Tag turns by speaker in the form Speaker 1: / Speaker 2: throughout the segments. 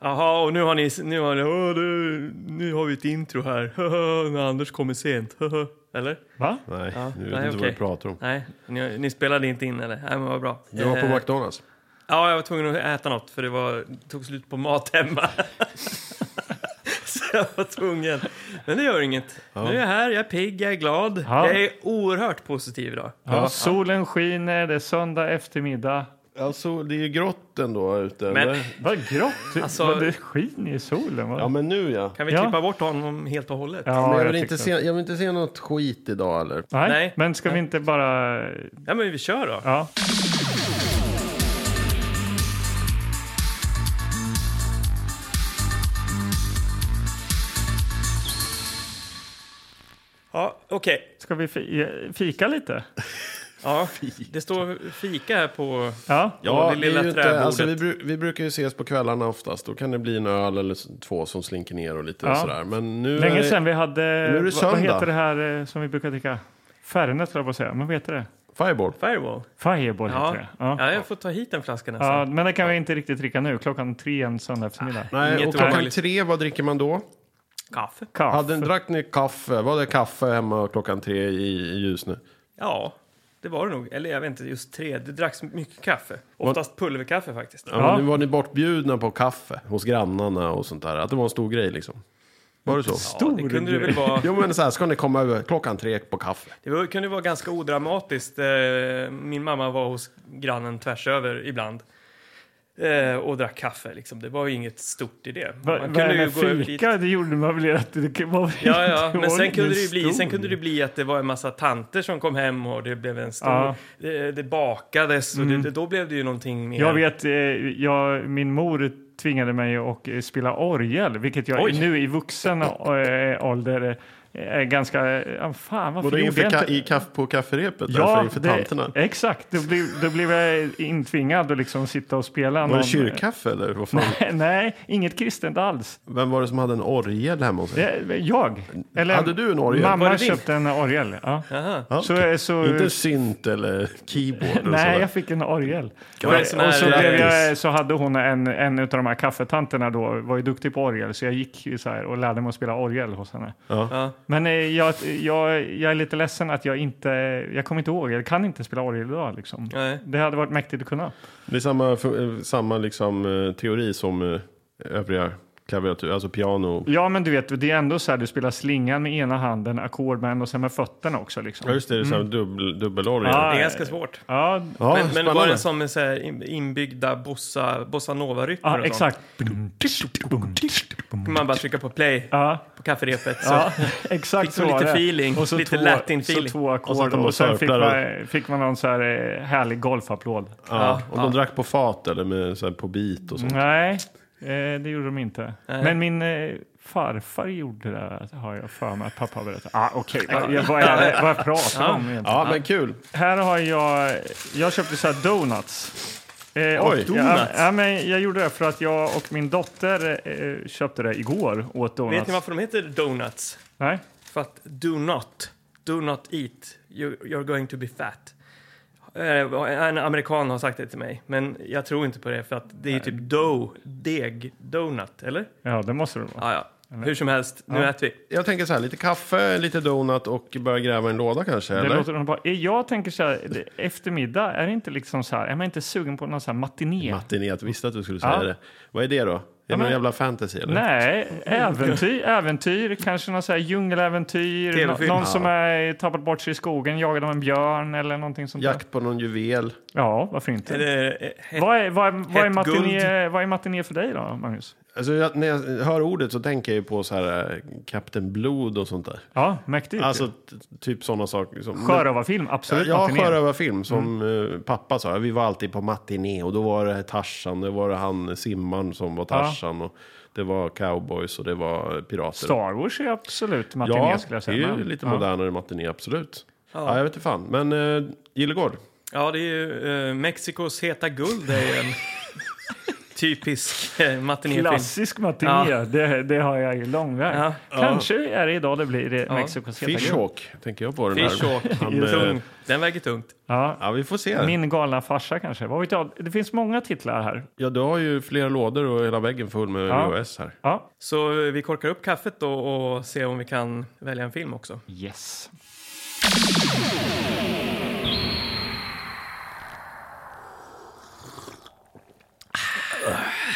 Speaker 1: Jaha, och nu har ni... Nu har, ni åh, du, nu har vi ett intro här. När Anders kommer sent. eller?
Speaker 2: Va?
Speaker 3: Nej,
Speaker 1: Ja,
Speaker 3: nu vet
Speaker 1: nej,
Speaker 3: jag inte
Speaker 1: okej.
Speaker 3: vad du pratar om.
Speaker 1: Nej, ni, ni spelade inte in eller? Nej, men vad bra.
Speaker 3: Du var på
Speaker 1: Eh,
Speaker 3: McDonalds.
Speaker 1: Ja, jag var tvungen att äta något för det, var, det tog slut på mat hemma. Så jag var tvungen. Men det gör inget. Nu är jag här, jag är pigg, jag är glad.
Speaker 2: Ja.
Speaker 1: Jag är oerhört positiv idag.
Speaker 2: Ja, solen skiner, det är söndag eftermiddag.
Speaker 3: Alltså, det är ju grått ändå ute.
Speaker 1: Men-
Speaker 3: eller?
Speaker 2: Vad grått!
Speaker 1: Alltså-
Speaker 2: Vad det skiner i solen. Vad?
Speaker 3: Ja, men nu ja.
Speaker 1: Kan vi
Speaker 2: Ja.
Speaker 1: klippa bort honom helt och hållet?
Speaker 2: Ja,
Speaker 3: men jag,
Speaker 2: jag
Speaker 3: vill
Speaker 2: tyckte-
Speaker 3: inte se, jag vill inte se något skit idag eller?
Speaker 2: Nej,
Speaker 1: Nej.
Speaker 2: men ska vi inte bara...
Speaker 1: Ja, men vi kör då.
Speaker 2: Ja.
Speaker 1: Ja, okej.
Speaker 2: Ska vi fi- fika lite?
Speaker 1: Ja, det står fika här på...
Speaker 2: Ja.
Speaker 1: Ja, det
Speaker 3: är
Speaker 1: lilla
Speaker 3: ju inte,
Speaker 1: träbordet.
Speaker 3: alltså, vi, bru- vi brukar ju ses på kvällarna oftast. Då kan det bli en öl eller s- två som slinker ner och lite
Speaker 2: Ja.
Speaker 3: sådär. Men nu... är
Speaker 2: Länge
Speaker 3: det-
Speaker 2: sedan vi hade...
Speaker 3: är det
Speaker 2: vad- vad
Speaker 3: söndag.
Speaker 2: heter det här eh, som vi brukar dricka? Fernet, höll jag på att säga. Men vad heter det?
Speaker 3: Fireball.
Speaker 1: Fireball.
Speaker 2: Fireball
Speaker 1: Ja.
Speaker 2: heter det. Ja.
Speaker 1: Ja, jag får ta hit en flaska nästan.
Speaker 2: Ja, men det kan vi inte riktigt dricka nu. Klockan tre en söndag eftermiddag.
Speaker 3: Nej,
Speaker 1: Inget
Speaker 3: och klockan
Speaker 1: ovanligt.
Speaker 3: tre, vad dricker man då?
Speaker 1: Kaffe?
Speaker 2: Kaffe.
Speaker 3: Hade, drack ni kaffe? Var det kaffe hemma klockan tre i, i Ljusne?
Speaker 1: Ja, det var det nog. Eller jag vet inte, just tre. Det dracks mycket kaffe. Oftast pulverkaffe faktiskt.
Speaker 3: Ja,
Speaker 2: Ja.
Speaker 3: Men nu var ni bortbjudna på kaffe hos grannarna och sånt där. Att det var en stor grej liksom. Var det så?
Speaker 1: Ja, det kunde det väl vara.
Speaker 3: Jo men så här, ska ni komma över klockan tre på kaffe?
Speaker 1: Det var, kunde vara ganska odramatiskt. Eh, Min mamma var hos grannen tvärs över ibland eh, och drack kaffe. Liksom. Det var ju inget stort i det.
Speaker 2: Va, vad är det med
Speaker 1: över dit-
Speaker 2: fika? Det gjorde man väl att det var väl
Speaker 1: Ja, ja,
Speaker 2: inte
Speaker 1: men sen
Speaker 2: ordentligt
Speaker 1: kunde, det ju bli,
Speaker 2: stor.
Speaker 1: sen kunde det bli att det var en massa tanter som kom hem och det blev en stor...
Speaker 2: Ja. Mm.
Speaker 1: Det, det bakades och det, det, då blev det ju någonting mer...
Speaker 2: Jag vet, eh, jag, min mor tvingade mig att eh, spela orgel, vilket jag
Speaker 1: Oj.
Speaker 2: nu i vuxen eh, ålder eh, är ganska... Ja, fan, varför
Speaker 3: Både
Speaker 2: gjorde
Speaker 3: inför
Speaker 2: jag
Speaker 3: ka-
Speaker 2: inte?
Speaker 3: i kaff- på kafferepet ja, därför inför tanterna?
Speaker 2: Det, exakt, då blev, då blev jag intvingad att liksom sitta och spela.
Speaker 3: Var det kyrkkaffe eller? Vad fan?
Speaker 2: Nej, inget kristet alls.
Speaker 3: Vem var det som hade en orgel hemma hos er?
Speaker 2: Det- eh, Jag. Eller,
Speaker 3: Hade du en orgel?
Speaker 1: Var det
Speaker 2: Mamma
Speaker 1: din?
Speaker 2: köpte en orgel. Ja.
Speaker 1: Aha.
Speaker 3: Ja,
Speaker 2: Så,
Speaker 3: okej.
Speaker 2: så,
Speaker 3: Inte synt eller keyboard? eller
Speaker 2: nej, jag
Speaker 3: sådär.
Speaker 2: fick en orgel.
Speaker 1: Var det en sån här,
Speaker 2: Och så,
Speaker 1: eh,
Speaker 2: blev
Speaker 3: grattis.
Speaker 2: jag, så hade hon en, en av de här kaffetanterna då, var ju duktig på orgel, så jag gick ju så här och lärde mig att spela orgel hos henne.
Speaker 1: ja.
Speaker 2: Men eh, jag, jag, jag är lite ledsen att jag inte, jag kommer inte ihåg, jag kan inte spela orgel idag liksom.
Speaker 1: Nej.
Speaker 2: Det hade varit mäktigt att kunna.
Speaker 3: Det är samma, fu- eh, samma liksom, eh, teori som eh, övriga klaviatur, alltså piano.
Speaker 2: Ja, men du vet, det är ändå så här, du spelar slingan med ena handen, ackord med en och sen med fötterna också liksom.
Speaker 3: Ja just det, det är mm. dubbel, dubbelorgel.
Speaker 2: Ja,
Speaker 1: Det är ganska svårt.
Speaker 2: Ja,
Speaker 3: Ja,
Speaker 1: Men, men var
Speaker 3: spännande.
Speaker 1: det som är så här in- inbyggda bossa, bossa nova-rytmer? och
Speaker 2: ja
Speaker 1: sånt?
Speaker 2: exakt.
Speaker 1: Man bara trycka på play
Speaker 2: Ja,
Speaker 1: på kafferepet. Så.
Speaker 2: ja, exakt
Speaker 1: Fick
Speaker 2: så
Speaker 1: man
Speaker 2: var
Speaker 1: lite
Speaker 2: det.
Speaker 1: feeling,
Speaker 2: och så
Speaker 1: lite
Speaker 2: två,
Speaker 1: Latin-feeling.
Speaker 2: Så två
Speaker 3: Och så att
Speaker 2: ackord
Speaker 3: de
Speaker 2: och, sen fick
Speaker 3: sörplar
Speaker 2: man, fick man någon så här eh, härlig golfapplåd.
Speaker 3: Ja, Mm. och de drack på fat eller med, så här, på bit och sånt.
Speaker 2: Nej, eh, det gjorde de inte. Men min eh, farfar gjorde det, har jag för mig att pappa berättade. Ah, Okej, vad, jag- vad, är det- vad jag pratar om egentligen?
Speaker 3: Ja, men kul.
Speaker 2: Här har jag, jag köpte så här donuts. Eh, och-
Speaker 3: Oj.
Speaker 2: Ja, ja, men jag gjorde det för att jag och min dotter eh, köpte det igår åt donuts.
Speaker 1: Vet ni varför de heter donuts?
Speaker 2: Nej?
Speaker 1: För att do not, do not eat, you're, you're going to be fat. Eh, En amerikan har sagt det till mig, men jag tror inte på det för att det är typ dough, deg, donut, eller?
Speaker 2: Ja, det måste det
Speaker 1: Ja,
Speaker 2: vara.
Speaker 1: ja. Hur som helst, nu äter vi.
Speaker 3: Jag tänker så här, lite kaffe, lite donut och börja gräva en låda kanske?
Speaker 2: Det
Speaker 3: eller?
Speaker 2: låter underbart. Eh, Jag tänker så här, det- eftermiddag, är det inte liksom så här, är man inte sugen på någon så här matiné?
Speaker 3: Matiné, jag visste att du skulle säga
Speaker 2: Ja.
Speaker 3: det. Vad är det då? Är det
Speaker 2: men-
Speaker 3: någon jävla fantasy eller?
Speaker 2: Nej, äventyr, äventyr, kanske någon så här djungeläventyr, nå-
Speaker 1: TV-film.
Speaker 2: någon som är tappat bort sig i skogen, jagad av en björn eller någonting sånt där.
Speaker 3: Jakt på någon juvel?
Speaker 2: Ja, varför inte?
Speaker 1: Eller, eh, het-
Speaker 2: Vad är, vad är, vad är,
Speaker 1: hett
Speaker 2: matiné, vad är matiné för dig då, Magnus?
Speaker 3: Alltså, jag, när jag hör ordet så tänker jag ju på så här eh, Captain Blod och sånt där.
Speaker 2: Ja, mäktigt.
Speaker 3: Alltså t- typ sådana saker. Som,
Speaker 2: Sjörövarfilm, absolut Mm.
Speaker 3: Ja,
Speaker 2: matiné.
Speaker 3: sjörövarfilm som eh, pappa sa. Vi var alltid på matiné och då var det Tarzan, det var det han simman som var Tarzan och det var cowboys och det var pirater.
Speaker 2: Star Wars är absolut matiné
Speaker 3: ja,
Speaker 2: skulle jag
Speaker 3: det
Speaker 2: säga.
Speaker 3: är ju
Speaker 2: men-
Speaker 3: lite
Speaker 2: ja.
Speaker 3: modernare matiné, absolut. Ja. jag vet inte fan. Men eh, Gillegård,
Speaker 1: Ja, det är ju eh, Mexikos heta guld. Är ju en... Typisk eh, matinéfilm.
Speaker 2: Klassisk matiné, det, det har jag ju lång väg.
Speaker 1: Ja.
Speaker 2: Kanske är det idag det blir det
Speaker 1: Ja.
Speaker 2: Mexikos heta guld.
Speaker 3: Fishhawk tänker jag på. Den här.
Speaker 1: Fishhawk.
Speaker 3: Han, eh,
Speaker 1: Tung. Den väger tungt.
Speaker 2: Ja.
Speaker 3: Ja, vi får se.
Speaker 2: Min galna farsa kanske. Vad vet jag? Det finns många titlar här.
Speaker 3: Ja, du har ju flera lådor och hela väggen full med
Speaker 2: Ja.
Speaker 3: VHS här.
Speaker 2: Ja.
Speaker 1: Så eh, vi korkar upp kaffet då och ser om vi kan välja en film också.
Speaker 2: Yes.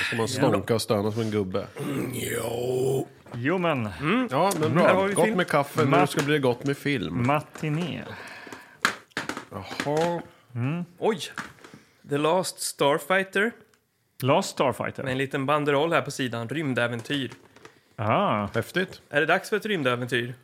Speaker 3: Ska man snonka och stöna som en gubbe?
Speaker 2: Jo men,
Speaker 1: Mm.
Speaker 3: Ja, men
Speaker 1: Här har vi
Speaker 3: bra. Mm. Gott
Speaker 1: film.
Speaker 3: med kaffe, nu
Speaker 2: Matt-
Speaker 3: ska det bli gott med film.
Speaker 2: matiné.
Speaker 3: Jaha.
Speaker 1: Oj! The Last Starfighter
Speaker 2: Last Starfighter.
Speaker 1: med en liten banderoll här på sidan. Rymdäventyr.
Speaker 2: Ah,
Speaker 3: Häftigt.
Speaker 1: Är det dags för ett rymdäventyr?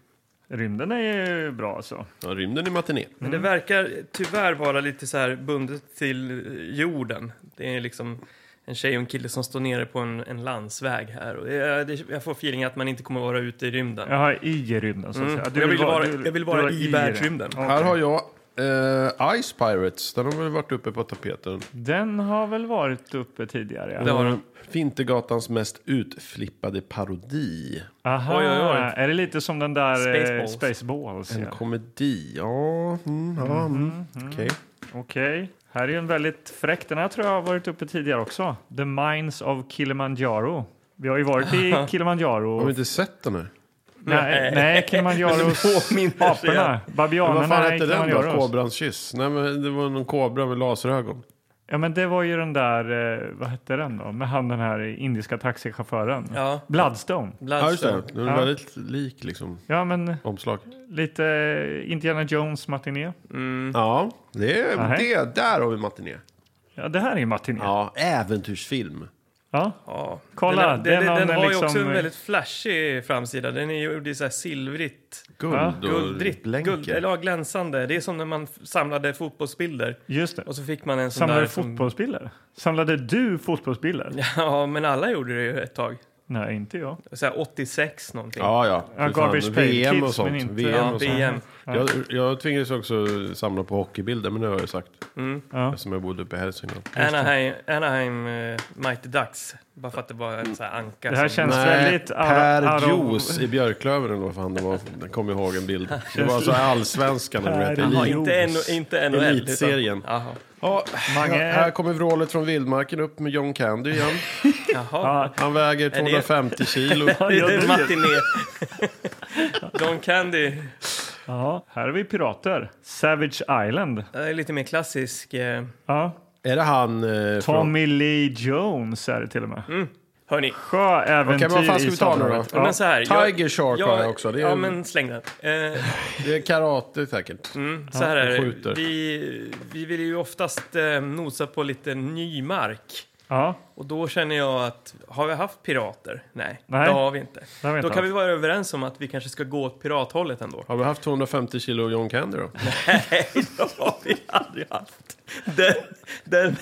Speaker 2: rymden är ju bra alltså.
Speaker 3: Ja, rymden i matiné.
Speaker 1: Men det verkar tyvärr vara lite så här bundet till eh, jorden. Det är liksom en tjej och en kille som står nere på en, en landsväg här. Och det, är- det, jag får feeling att man inte kommer vara ute i rymden.
Speaker 2: Jaha, i rymden så att
Speaker 1: Mm.
Speaker 2: säga.
Speaker 1: Jag vill vara-
Speaker 2: du-
Speaker 1: jag vill
Speaker 2: du
Speaker 1: vara
Speaker 2: var
Speaker 1: i
Speaker 2: det.
Speaker 1: världsrymden.
Speaker 2: Okej.
Speaker 3: Här har jag eh, Ice Pirates. Den har väl varit uppe på tapeten.
Speaker 2: Den har väl varit uppe tidigare? Ja.
Speaker 1: Det har den.
Speaker 3: Vintergatans mest utflippade parodi.
Speaker 2: Aha,
Speaker 1: Oj, oj, oj.
Speaker 2: är det lite som den där
Speaker 1: Spaceballs.
Speaker 2: Spaceballs? Spaceballs
Speaker 3: En
Speaker 2: ja.
Speaker 3: komedi. Ja, mm, ja mm. okej.
Speaker 2: Okej, här är ju en väldigt fräck. Den här tror jag har varit uppe tidigare också. The Mines of Kilimanjaro. Vi har ju varit i Kilimanjaro.
Speaker 3: Har vi inte sett den här?
Speaker 2: Nej, nej Kilimanjaros
Speaker 1: Påminner sig
Speaker 2: aporna.
Speaker 3: Men vad fan
Speaker 2: Babianerna i
Speaker 3: hette den då?
Speaker 2: Kilimanjaros.
Speaker 3: Kobrans kyss? Nej, men det var någon kobra med laserögon.
Speaker 2: Ja, men det var ju den där, eh, vad hette den då? Med han den här indiska taxichauffören.
Speaker 1: Ja,
Speaker 2: Bloodstone.
Speaker 3: Ja, just
Speaker 1: Bloodstone.
Speaker 3: det. Den är
Speaker 2: Alltså. Ja.
Speaker 3: väldigt lik liksom,
Speaker 2: Ja, men
Speaker 3: omslag.
Speaker 2: lite eh, Indiana Jones matiné. Mm.
Speaker 3: Ja, det,
Speaker 2: Nej.
Speaker 3: det där har vi matiné.
Speaker 2: Ja, det här är ju matiné. Ja.
Speaker 3: Ja, äventyrsfilm.
Speaker 1: Ja.
Speaker 2: Kolla,
Speaker 1: den,
Speaker 2: det är
Speaker 1: den, den,
Speaker 2: någon
Speaker 1: har ju
Speaker 2: liksom-
Speaker 1: också en väldigt flashig framsida. Den är gjord i så här silvrigt,
Speaker 3: Guld och
Speaker 1: guldrigt,
Speaker 3: blänker.
Speaker 1: guld, eller ja, glänsande. Det är som när man f- samlade fotbollsbilder
Speaker 2: Just det.
Speaker 1: och så fick man en sån
Speaker 2: Samlade
Speaker 1: där...
Speaker 2: fotbollsbilder? Samlade du fotbollsbilder?
Speaker 1: Som, ja, men alla gjorde det ju ett tag.
Speaker 2: Nej, inte jag.
Speaker 1: Så här 86 någonting.
Speaker 3: Ja, ja.
Speaker 2: Ja,
Speaker 3: Fy
Speaker 2: Garbage Pail
Speaker 3: VM och
Speaker 2: Kids,
Speaker 3: sånt.
Speaker 2: men inte-
Speaker 3: VM
Speaker 1: Ja,
Speaker 3: och sånt.
Speaker 1: VM.
Speaker 3: Jag, jag tvingades också samla på hockeybilder, men det har jag ju sagt.
Speaker 2: Ja.
Speaker 3: Eftersom jag bodde uppe i Hälsingland.
Speaker 1: Mm. Anaheim, Anaheim eh, Mighty Ducks. Bara för att det var en sån här anka.
Speaker 2: Det här
Speaker 1: som-
Speaker 2: känns väldigt... out- out
Speaker 3: Per
Speaker 2: of-
Speaker 3: Juice i Björklöven eller vad fan det var. Jag kommer ihåg en bild. Det var alltså allsvenskan. eller vad det heter.
Speaker 1: Jaha,
Speaker 2: Juice.
Speaker 1: inte, NO inte NHL. utan-
Speaker 3: Elitserien.
Speaker 1: Jaha.
Speaker 3: Ja,
Speaker 2: Mange-
Speaker 3: här kommer vrålet från vildmarken upp med John Candy igen.
Speaker 1: Jaha.
Speaker 3: Han väger 250 kilo.
Speaker 1: Det är matiné. Don Candy.
Speaker 2: Ja, här är vi pirater. Savage Island.
Speaker 1: Det är lite mer klassisk. Eh.
Speaker 2: Ja.
Speaker 3: Är det han eh, från...
Speaker 2: Tommy Lee Jones är det till och med.
Speaker 1: Hörni,
Speaker 2: Sjöäventyr
Speaker 3: Mm. Okej, men vad fan ska
Speaker 2: i
Speaker 3: vi ta nu då?
Speaker 2: Sadelhavet.
Speaker 1: ja. men så här.
Speaker 3: Tiger Shark har jag också. Det är-
Speaker 1: Ja, men släng den. Eh,
Speaker 3: Det är karate säkert.
Speaker 1: mm, så här är det.
Speaker 3: skjuter.
Speaker 1: Vi, vi vill ju oftast eh, nosa på lite ny mark.
Speaker 2: Ja,
Speaker 1: Och då känner jag att, har vi haft pirater? Nej,
Speaker 2: Nej.
Speaker 1: det har vi inte.
Speaker 2: det har vi
Speaker 1: Då
Speaker 2: inte
Speaker 1: kan vi vara överens om att vi kanske ska gå åt pirathållet ändå.
Speaker 3: Har vi haft 250 kilo John Candy då?
Speaker 1: Nej, det har vi aldrig haft. Den, den,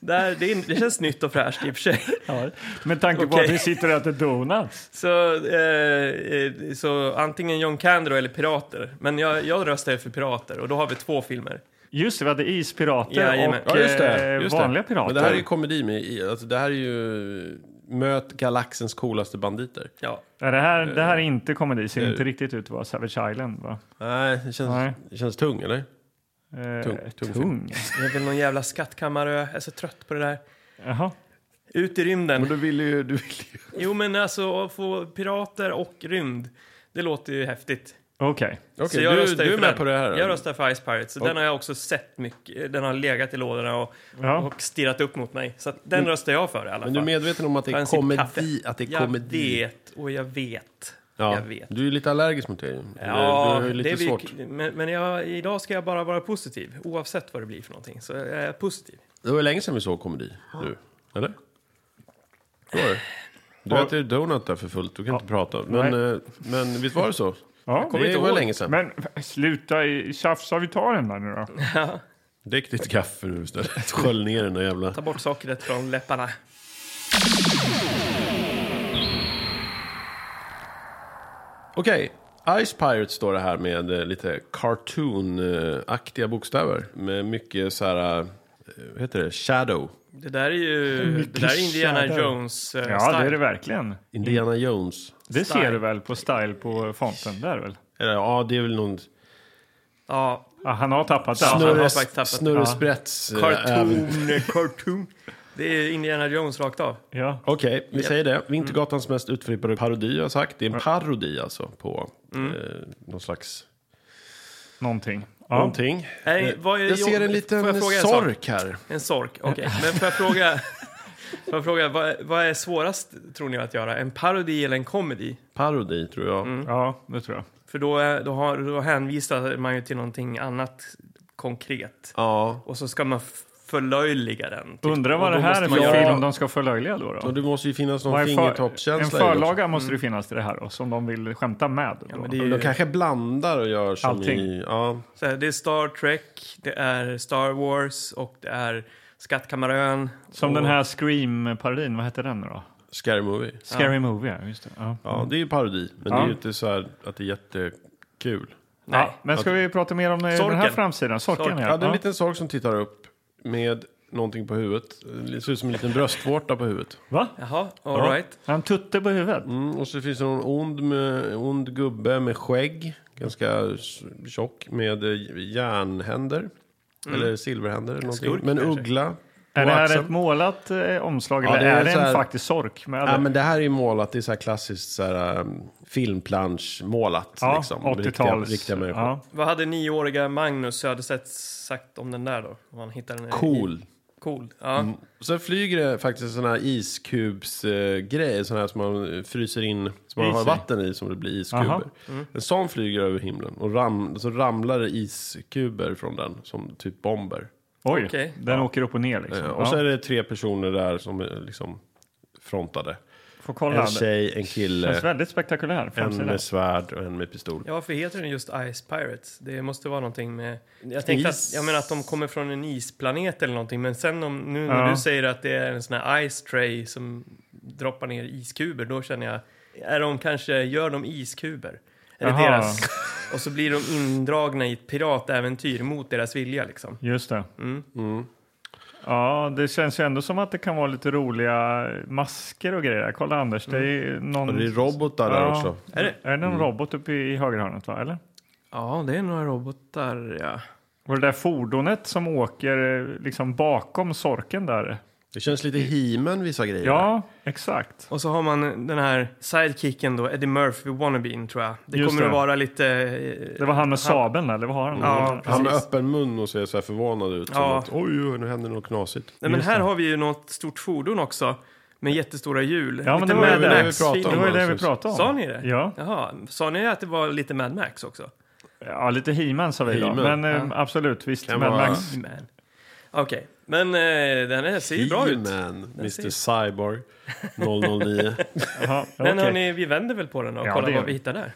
Speaker 1: där, det, är, det känns nytt och fräscht i och för sig.
Speaker 2: haft. Ja. Med tanke på
Speaker 1: Okej.
Speaker 2: att vi sitter och äter donuts.
Speaker 1: Så, eh, eh, så antingen John Candy då eller pirater. Men jag, jag röstar ju för pirater och då har vi två filmer.
Speaker 2: Just det, vi hade ispirater
Speaker 1: Jajamän.
Speaker 2: och
Speaker 3: Ja, just det.
Speaker 2: eh,
Speaker 3: Just
Speaker 2: vanliga
Speaker 3: det.
Speaker 2: pirater.
Speaker 3: Men det här är ju komedi med... i- Alltså, det här är ju... Möt galaxens coolaste banditer.
Speaker 1: Ja.
Speaker 2: Ja, det, här, det
Speaker 3: Eh,
Speaker 2: här är inte komedi, ser inte riktigt ut att vara Savage Island va?
Speaker 3: Nej, det känns,
Speaker 2: Nej.
Speaker 3: Det känns tung, eller?
Speaker 2: Eh,
Speaker 3: Tung- tung film.
Speaker 2: tung.
Speaker 1: Det är väl någon jävla skattkammarö. Jag är så trött på det där.
Speaker 2: Jaha.
Speaker 1: Ut i rymden.
Speaker 3: du ville ju... Du ville ju.
Speaker 1: Jo, men alltså att få pirater och rymd. Det låter ju häftigt.
Speaker 2: Okej.
Speaker 1: Så
Speaker 3: Okej,
Speaker 1: jag
Speaker 3: du,
Speaker 1: röstar ju
Speaker 3: du är
Speaker 1: för
Speaker 3: med
Speaker 1: den.
Speaker 3: på det här? då?
Speaker 1: Jag röstar för Ice Pirates. Så
Speaker 3: Och-
Speaker 1: Den har jag också sett mycket. Den har legat i lådorna och,
Speaker 2: Ja.
Speaker 1: och stirrat upp mot mig. Så att den röstar jag för i alla fall.
Speaker 3: Men du är medveten om att det
Speaker 1: Ta
Speaker 3: är
Speaker 1: en sipp kaffe.
Speaker 3: komedi? Att det är
Speaker 1: jag
Speaker 3: komedi.
Speaker 1: vet och jag vet.
Speaker 3: Ja,
Speaker 1: Jag vet.
Speaker 3: Du är lite allergisk mot det. Eller
Speaker 1: Ja,
Speaker 3: du har ju lite
Speaker 1: det är vi-
Speaker 3: svårt.
Speaker 1: Men, men jag, idag ska jag bara vara positiv, oavsett vad det blir för någonting. Så jag är positiv.
Speaker 3: Det var ju länge sedan vi såg komedi nu. Eller? Det var det. Du äter ju donut där för fullt, du kan inte prata. Men, eh, men visst var det så?
Speaker 2: Ja.
Speaker 1: Kommer
Speaker 3: Det
Speaker 1: inte
Speaker 3: var
Speaker 1: ihåg.
Speaker 3: länge sedan. Mm.
Speaker 2: Men sluta i- tjafsa, vi tar den där nu då.
Speaker 3: Drick ditt kaffe nu istället. Skölj ner den där jävla...
Speaker 1: Ta bort sockret från läpparna.
Speaker 3: Okej. Ice Pirates står det här med eh, lite cartoon-aktiga bokstäver. Med mycket så här... eh, Vad heter det? Shadow.
Speaker 1: Det där är ju
Speaker 2: Mycket
Speaker 1: det där är Indiana
Speaker 2: tjäder.
Speaker 1: Jones eh,
Speaker 2: Ja, det är det verkligen.
Speaker 1: Mm.
Speaker 3: Indiana Jones.
Speaker 2: Det
Speaker 1: Style.
Speaker 2: ser du väl på style på fonten där väl?
Speaker 3: Eller, ja, det är väl någon
Speaker 1: Ja,
Speaker 2: Ja, han har tappat
Speaker 1: Ja, han har
Speaker 2: det.
Speaker 3: snurre,
Speaker 1: faktiskt tappat-
Speaker 3: snurresprätts... eh, även.
Speaker 1: cartoon, cartoon. Det är Indiana Jones rakt av.
Speaker 2: Ja.
Speaker 3: Okej, vi säger det. Vintergatans mest utflippade parodi har jag sagt. Det är en parodi alltså på eh, någon slags
Speaker 2: Någonting. Ja.
Speaker 3: någonting.
Speaker 1: Nej,
Speaker 3: Eh,
Speaker 1: vad är-
Speaker 3: jag ser en
Speaker 1: får
Speaker 3: liten
Speaker 1: jag fråga en sak?
Speaker 3: sork här.
Speaker 1: En sork, okej. Men får jag fråga, får jag fråga vad, vad är svårast tror ni att göra? En parodi eller en comedy?
Speaker 3: Parodi tror jag.
Speaker 2: ja, det tror jag.
Speaker 1: För då, är- då, har, då hänvisar man ju till någonting annat konkret.
Speaker 3: Ja,
Speaker 1: Och så ska man f- förlöjliga den. typ.
Speaker 2: Undrar
Speaker 1: Och
Speaker 2: vad
Speaker 1: då
Speaker 2: det här är
Speaker 1: måste man
Speaker 2: för
Speaker 1: göra-
Speaker 2: film de ska förlöjliga då. då?
Speaker 3: och det måste ju finnas
Speaker 2: Vad
Speaker 3: någon
Speaker 2: är för- en
Speaker 3: fingertoppskänsla i det också. Mm.
Speaker 2: förlaga måste det finnas till det här då, som de vill skämta med. Då.
Speaker 1: Ja, men det,
Speaker 3: De
Speaker 1: är ju,
Speaker 3: kanske blandar och gör som
Speaker 2: Allting.
Speaker 3: i... Ja.
Speaker 1: så här, det är Star Trek, det är Star Wars och det är Skattkammarön.
Speaker 2: Som
Speaker 1: och,
Speaker 2: den här Scream-parodin, vad hette den då?
Speaker 3: Scary Movie.
Speaker 2: Scary Movie, ja. Just det. Ja. Ja.
Speaker 3: Ja, det är ju parodi. Men det är ju inte så här att det är jättekul.
Speaker 1: Nej.
Speaker 2: men ska vi prata mer om eh, den här
Speaker 1: Sorken.
Speaker 2: framsidan? Sorken,
Speaker 1: Sorken.
Speaker 2: ja.
Speaker 3: Ja, det är en liten sork som tittar upp med någonting på huvudet. Det ser ut som en liten bröstvårta på huvudet.
Speaker 2: Va?
Speaker 1: Jaha,
Speaker 2: Ja.
Speaker 1: alright.
Speaker 2: Han tutte på huvudet?
Speaker 3: Mm, och så finns det någon ond, med, ond gubbe med skägg. Ganska s- tjock med eh, järnhänder.
Speaker 2: Mm.
Speaker 3: Eller silverhänder eller någonting.
Speaker 1: skurk
Speaker 3: Men
Speaker 1: kanske.
Speaker 3: uggla. på
Speaker 2: Är det här
Speaker 3: axeln.
Speaker 2: ett målat eh, omslag
Speaker 3: Ja,
Speaker 2: eller
Speaker 3: det är
Speaker 2: är det
Speaker 3: så
Speaker 2: en
Speaker 3: här-
Speaker 2: faktisk sork? Med
Speaker 3: Ja, men det här är ju målat, i så här klassiskt så här, um, filmplanschmålat.
Speaker 2: Ja,
Speaker 3: liksom, med riktiga,
Speaker 2: 80-tals.
Speaker 3: riktiga människor.
Speaker 2: ja.
Speaker 1: Vad hade nioåriga Magnus Söderstedt sagt om den där då? Om han hittade den i-
Speaker 3: Cool. Mm.
Speaker 1: Cool. Ja.
Speaker 3: Och sen flyger det faktiskt sådana här iskubsgrejer, sådana här som man fryser in, som man
Speaker 2: Is
Speaker 3: har
Speaker 2: i.
Speaker 3: vatten i som det blir
Speaker 2: Aha.
Speaker 3: iskuber. En sån flyger över himlen och ram, så ramlar det iskuber från den, som typ bomber.
Speaker 2: Oj,
Speaker 1: Okej.
Speaker 2: den åker upp och ner liksom.
Speaker 3: Eh,
Speaker 2: Ja.
Speaker 3: Och så är det tre personer där som är liksom frontade.
Speaker 2: Får kolla.
Speaker 3: En
Speaker 2: Det
Speaker 3: tjej, en
Speaker 2: känns
Speaker 3: kille,
Speaker 2: väldigt spektakulär
Speaker 3: eh, en
Speaker 2: framsida.
Speaker 3: med svärd och en med pistol.
Speaker 1: Ja, varför heter den just Ice Pirates? Det måste vara någonting med... Jag tänkte
Speaker 3: Is.
Speaker 1: att, jag menar att de kommer från en isplanet eller någonting, men sen om, nu när
Speaker 2: Ja.
Speaker 1: du säger att det är en sån här ice tray som droppar ner iskuber, då känner jag, är de kanske, gör de iskuber? Är det
Speaker 2: Jaha.
Speaker 1: deras? Och så blir de indragna i ett piratäventyr mot deras vilja liksom.
Speaker 2: Just det.
Speaker 1: Mm.
Speaker 2: Ja, det känns ju ändå som att det kan vara lite roliga masker och grejer. Kolla Anders, det är ju någon...
Speaker 3: Och Mm. det är Mm. robotar där
Speaker 2: Ja.
Speaker 3: också.
Speaker 1: Är det?
Speaker 2: Är det någon robot uppe i högerhörnet va, eller?
Speaker 1: Ja, det är några robotar, ja.
Speaker 2: Och det där fordonet som åker eh, liksom bakom sorken där.
Speaker 3: Det känns lite himen vissa grejer.
Speaker 2: Ja, exakt.
Speaker 1: Och så har man den här sidekicken då, Eddie Murphy, wannabeen tror jag. Det
Speaker 2: Just
Speaker 1: kommer
Speaker 2: det.
Speaker 1: att vara lite... eh,
Speaker 2: Det var han med sabeln eller vad har han?
Speaker 1: Ja,
Speaker 3: Mm. Han med
Speaker 1: precis.
Speaker 3: öppen mun och ser så här förvånad ut. Som
Speaker 1: Ja.
Speaker 3: att, oj, oj, nu händer något knasigt.
Speaker 1: Nej, men
Speaker 2: Just
Speaker 1: här
Speaker 2: det.
Speaker 1: har vi ju något stort fordon också med jättestora hjul.
Speaker 2: Ja, men
Speaker 1: lite
Speaker 2: det var ju det vi Det
Speaker 3: pratade
Speaker 1: feeling.
Speaker 2: var ju det vi pratade om.
Speaker 1: Sa ni det?
Speaker 2: Ja,
Speaker 1: Jaha, sa ni att det var lite Mad Max också?
Speaker 2: ja lite He-Man sa vi då.
Speaker 3: He-Man.
Speaker 2: Men eh, absolut, visst.
Speaker 3: Kan
Speaker 2: Mad
Speaker 3: vara-
Speaker 2: Max.
Speaker 1: Man. Okej, men eh, den här ser ju bra ut.
Speaker 3: He-Man, Mr
Speaker 1: ser-
Speaker 3: Cyborg 009.
Speaker 2: Jaha,
Speaker 1: Men
Speaker 2: okej.
Speaker 1: hörni, vi vänder väl på den och
Speaker 2: Ja, det
Speaker 1: kollar
Speaker 2: gör
Speaker 1: vad vi
Speaker 2: vi.
Speaker 1: hittar där.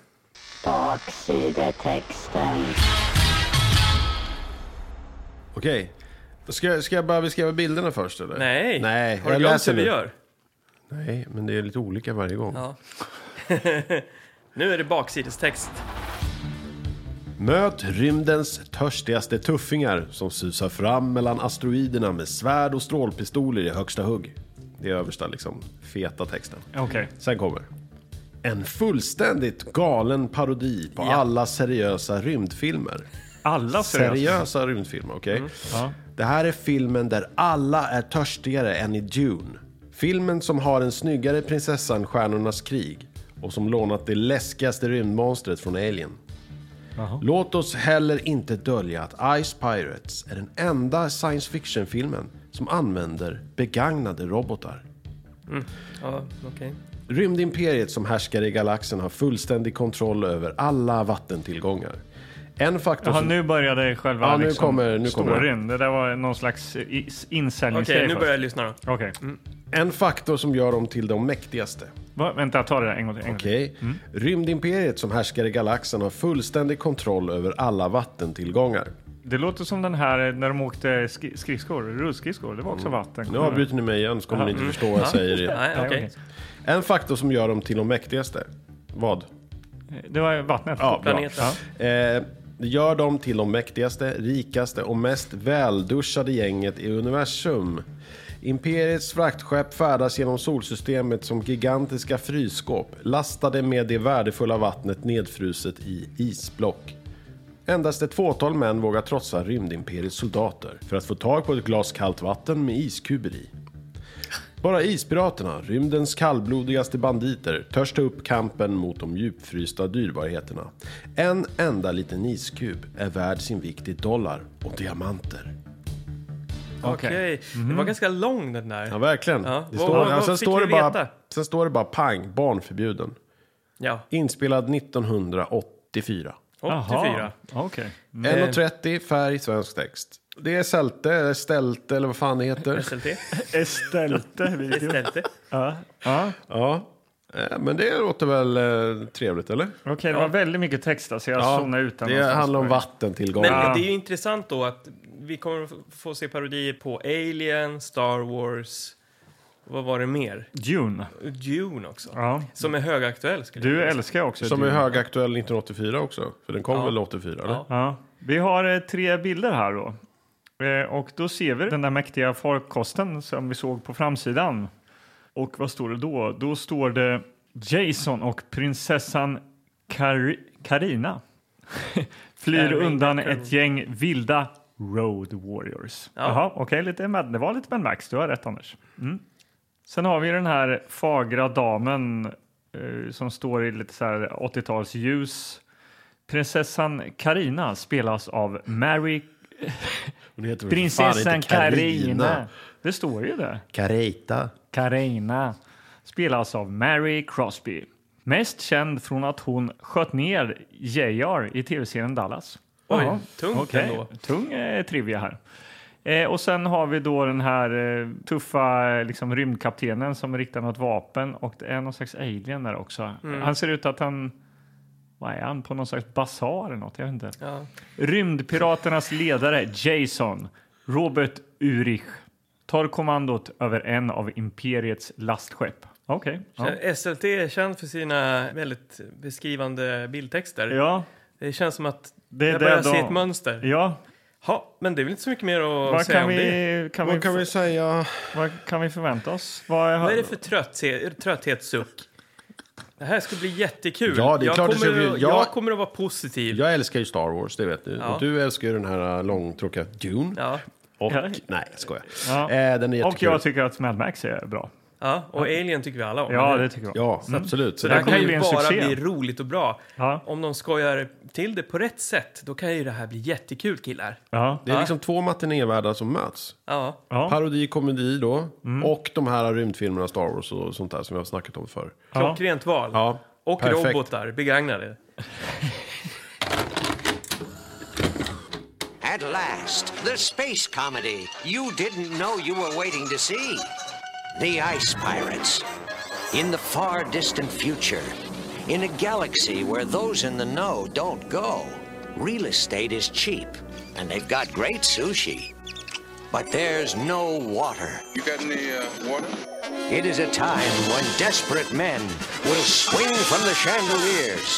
Speaker 4: Baksidetexten.
Speaker 3: Okej. Då Ska, jag- ska jag bara beskriva bilderna först eller?
Speaker 1: Nej,
Speaker 3: Nej,
Speaker 1: har du
Speaker 3: jag
Speaker 1: glömt
Speaker 3: läser
Speaker 1: hur vi
Speaker 3: nu.
Speaker 1: gör?
Speaker 3: Nej, men det är lite olika varje gång.
Speaker 1: Ja. nu är det baksidestext.
Speaker 3: Möt rymdens törstigaste tuffingar som susar fram mellan asteroiderna med svärd och strålpistoler i högsta hugg. Det är översta liksom feta texten.
Speaker 2: Okej.
Speaker 3: Sen kommer. En fullständigt galen parodi på alla seriösa rymdfilmer.
Speaker 2: Alla seriöst.
Speaker 3: Seriösa rymdfilmer, okej?
Speaker 2: Mm. Ja.
Speaker 3: Det här är filmen där alla är törstigare än i Dune. Filmen som har den snyggare prinsessan Stjärnornas krig och som lånat det läskigaste rymdmonstret från Alien.
Speaker 2: Jaha.
Speaker 3: Låt oss heller inte dölja att Ice Pirates är den enda science fiction-filmen som använder begagnade robotar.
Speaker 1: Ja, okej.
Speaker 3: Rymdimperiet som härskar i galaxen har fullständig kontroll över alla vattentillgångar. En faktor
Speaker 2: Jaha,
Speaker 3: som...
Speaker 2: nu började själva
Speaker 3: Ja, nu
Speaker 2: liksom,
Speaker 3: kommer- nu kommer det.
Speaker 2: storyn. Det där var någon slags is-
Speaker 1: Okej,
Speaker 2: insäljningsgrej.
Speaker 1: nu
Speaker 2: först.
Speaker 1: börjar Mm. jag lyssna då.
Speaker 2: Okej.
Speaker 3: En faktor som gör dem till de mäktigaste. Mm.
Speaker 2: Va, vänta, ta det där en gång till. en gång till.
Speaker 3: Okej. Rymdimperiet som härskar i galaxen har fullständig kontroll över alla vattentillgångar.
Speaker 2: Det låter som den här eh, när de åkte sk- skridskor, rullskridskor. Det var också vatten.
Speaker 3: Mm. Nu avbryter ni mig igen så kommer ni inte förstå vad jag säger. igen.
Speaker 1: Nej,
Speaker 2: Nej,
Speaker 1: okej.
Speaker 2: okej.
Speaker 3: En faktor som gör dem till de mäktigaste. Vad?
Speaker 2: Det var vattnet.
Speaker 3: Ja, bra.
Speaker 1: Planeten.
Speaker 2: Ja.
Speaker 3: Eh, gör dem till de mäktigaste, rikaste och mest välduschade gänget i universum. Imperiets fraktskepp färdas genom solsystemet som gigantiska frysskåp lastade med det värdefulla vattnet nedfruset i isblock. Endast ett fåtal män vågar trotsa rymdimperiets soldater för att få tag på ett glas kallt vatten med iskuber i. Bara ispiraterna, rymdens kallblodigaste banditer, törs ta upp kampen mot de djupfrysta dyrbarheterna. En enda liten iskub är värd sin vikt i dollar och diamanter.
Speaker 1: Okej. Det
Speaker 2: Mm.
Speaker 1: var ganska lång den där.
Speaker 3: Ja, verkligen.
Speaker 1: Ja.
Speaker 3: Det
Speaker 1: Vad-
Speaker 3: står,
Speaker 1: vad-
Speaker 3: ja,
Speaker 1: vad
Speaker 3: sen,
Speaker 1: fick
Speaker 3: står
Speaker 1: vi
Speaker 3: det bara,
Speaker 1: veta?
Speaker 3: sen står det bara pang, barnförbjuden.
Speaker 1: Ja,
Speaker 3: Inspelad 1984.
Speaker 1: 84.
Speaker 2: Jaha, Okej.
Speaker 3: 1.30, färg, svensk text. Det är sälte, eller stälte, eller vad fan det heter.
Speaker 1: SLT.
Speaker 2: Estelte video.
Speaker 1: SLT.
Speaker 2: Ja, ja.
Speaker 3: Ja. Eh, Men det låter väl eh, trevligt, eller?
Speaker 2: Okej, det var väldigt mycket text där, så jag zonade ut den
Speaker 3: det
Speaker 2: någonstans.
Speaker 3: handlar om vattentillgång.
Speaker 1: Men
Speaker 2: Ja.
Speaker 1: det är ju intressant då att vi kommer att få se parodier på Alien, Star Wars, vad var det mer?
Speaker 2: Dune.
Speaker 1: Dune också.
Speaker 2: Ja.
Speaker 1: Som är högaktuell skulle
Speaker 2: Du
Speaker 1: jag säga.
Speaker 2: älskar också
Speaker 3: Som är
Speaker 2: Dune.
Speaker 3: högaktuell 1984 också. För den kom
Speaker 1: Ja.
Speaker 3: väl 84? Eller?
Speaker 1: Ja.
Speaker 2: Ja. Vi har eh, tre bilder här då. Eh, och då ser vi den där mäktiga farkosten som vi såg på framsidan. Och vad står det då? Då står det Jason och prinsessan Kar- Karina flyr
Speaker 1: Carina,
Speaker 2: undan
Speaker 1: Carina.
Speaker 2: ett gäng vilda Road Warriors.
Speaker 1: Ja.
Speaker 2: Jaha, okej, lite Mad- det var lite Mad Max. Du har rätt, Anders. Mm. Sen har vi den här fagra damen eh, som står i lite så här 80-talsljus. Prinsessan Karina spelas av Mary
Speaker 3: Hon heter väl för fan
Speaker 2: Prinsessan
Speaker 3: inte
Speaker 2: Karina. Det står ju det.
Speaker 3: Carita.
Speaker 2: Karina spelas av Mary Crosby. Mest känd från att hon sköt ner JR i tv-serien Dallas.
Speaker 1: Oj,
Speaker 2: Ja,
Speaker 1: tungt
Speaker 2: okej.
Speaker 1: ändå.
Speaker 2: Tung eh, trivia här. Eh, och sen har vi då den här eh, tuffa eh, liksom, rymdkaptenen som riktar något vapen och det är någon slags alien där också.
Speaker 1: Mm.
Speaker 2: Han ser ut att han... Vad är han? På någon slags basar eller något? Jag vet inte.
Speaker 1: Ja.
Speaker 2: Rymdpiraternas ledare Jason Robert Urich tar kommandot över en av Imperiets lastskepp. Okej.
Speaker 1: SLT är känd för sina väldigt beskrivande bildtexter.
Speaker 2: Ja. ja,
Speaker 1: Det känns som att
Speaker 2: Det är
Speaker 1: jag börjar
Speaker 2: det de-
Speaker 1: se ett mönster.
Speaker 2: ja.
Speaker 1: Ja, men det är väl inte så mycket mer att
Speaker 2: Vad,
Speaker 1: säga
Speaker 2: kan
Speaker 1: om det.
Speaker 2: vi, kan, vi,
Speaker 3: Vad kan vi säga?
Speaker 2: vad kan vi förvänta oss? Vad
Speaker 1: Vad är det för trötthet, trötthetssuck? Det här ska bli jättekul.
Speaker 3: Ja, det är
Speaker 1: jag,
Speaker 3: klart det
Speaker 1: kommer
Speaker 3: ska bli-
Speaker 1: att,
Speaker 3: ja.
Speaker 1: jag kommer att vara positiv.
Speaker 3: Jag älskar ju Star Wars, det vet du.
Speaker 1: Ja.
Speaker 3: Och du älskar ju den här äh, långtråkiga Dune.
Speaker 1: Ja,
Speaker 3: Och,
Speaker 2: Ja.
Speaker 3: nej, jag skojar.
Speaker 2: Ja.
Speaker 3: Eh, den är
Speaker 2: och
Speaker 3: jättekul.
Speaker 2: jag tycker att Mad Max är bra.
Speaker 1: ja, och Alien tycker vi alla om.
Speaker 2: Ja,
Speaker 1: eller?
Speaker 2: det tycker jag.
Speaker 3: Ja, absolut. Så
Speaker 1: det
Speaker 3: det
Speaker 1: här
Speaker 2: kommer
Speaker 1: kan ju
Speaker 2: bli en
Speaker 1: bara
Speaker 2: succé.
Speaker 1: bli roligt och bra.
Speaker 2: Ja.
Speaker 1: Om de skojar till det på rätt sätt, då kan ju det här bli jättekul killar.
Speaker 2: Ja.
Speaker 3: det är liksom två matinévärldar som möts.
Speaker 1: Ja,
Speaker 2: Ja.
Speaker 3: Parodi, komedi då. Och de här rymdfilmerna Star Wars och sånt där som vi har snackat om förr.
Speaker 2: Ja.
Speaker 1: klockrent val.
Speaker 3: Ja,
Speaker 1: Och
Speaker 3: perfekt.
Speaker 1: robotar, begagnade.
Speaker 4: At last, the space comedy you didn't know you were waiting to see. The Ice Pirates. In the far distant future, in a galaxy where those in the know don't go, real estate is cheap, and they've got great sushi. But there's no water.
Speaker 5: You got any uh, water?
Speaker 4: It is a time when desperate men will swing from the chandeliers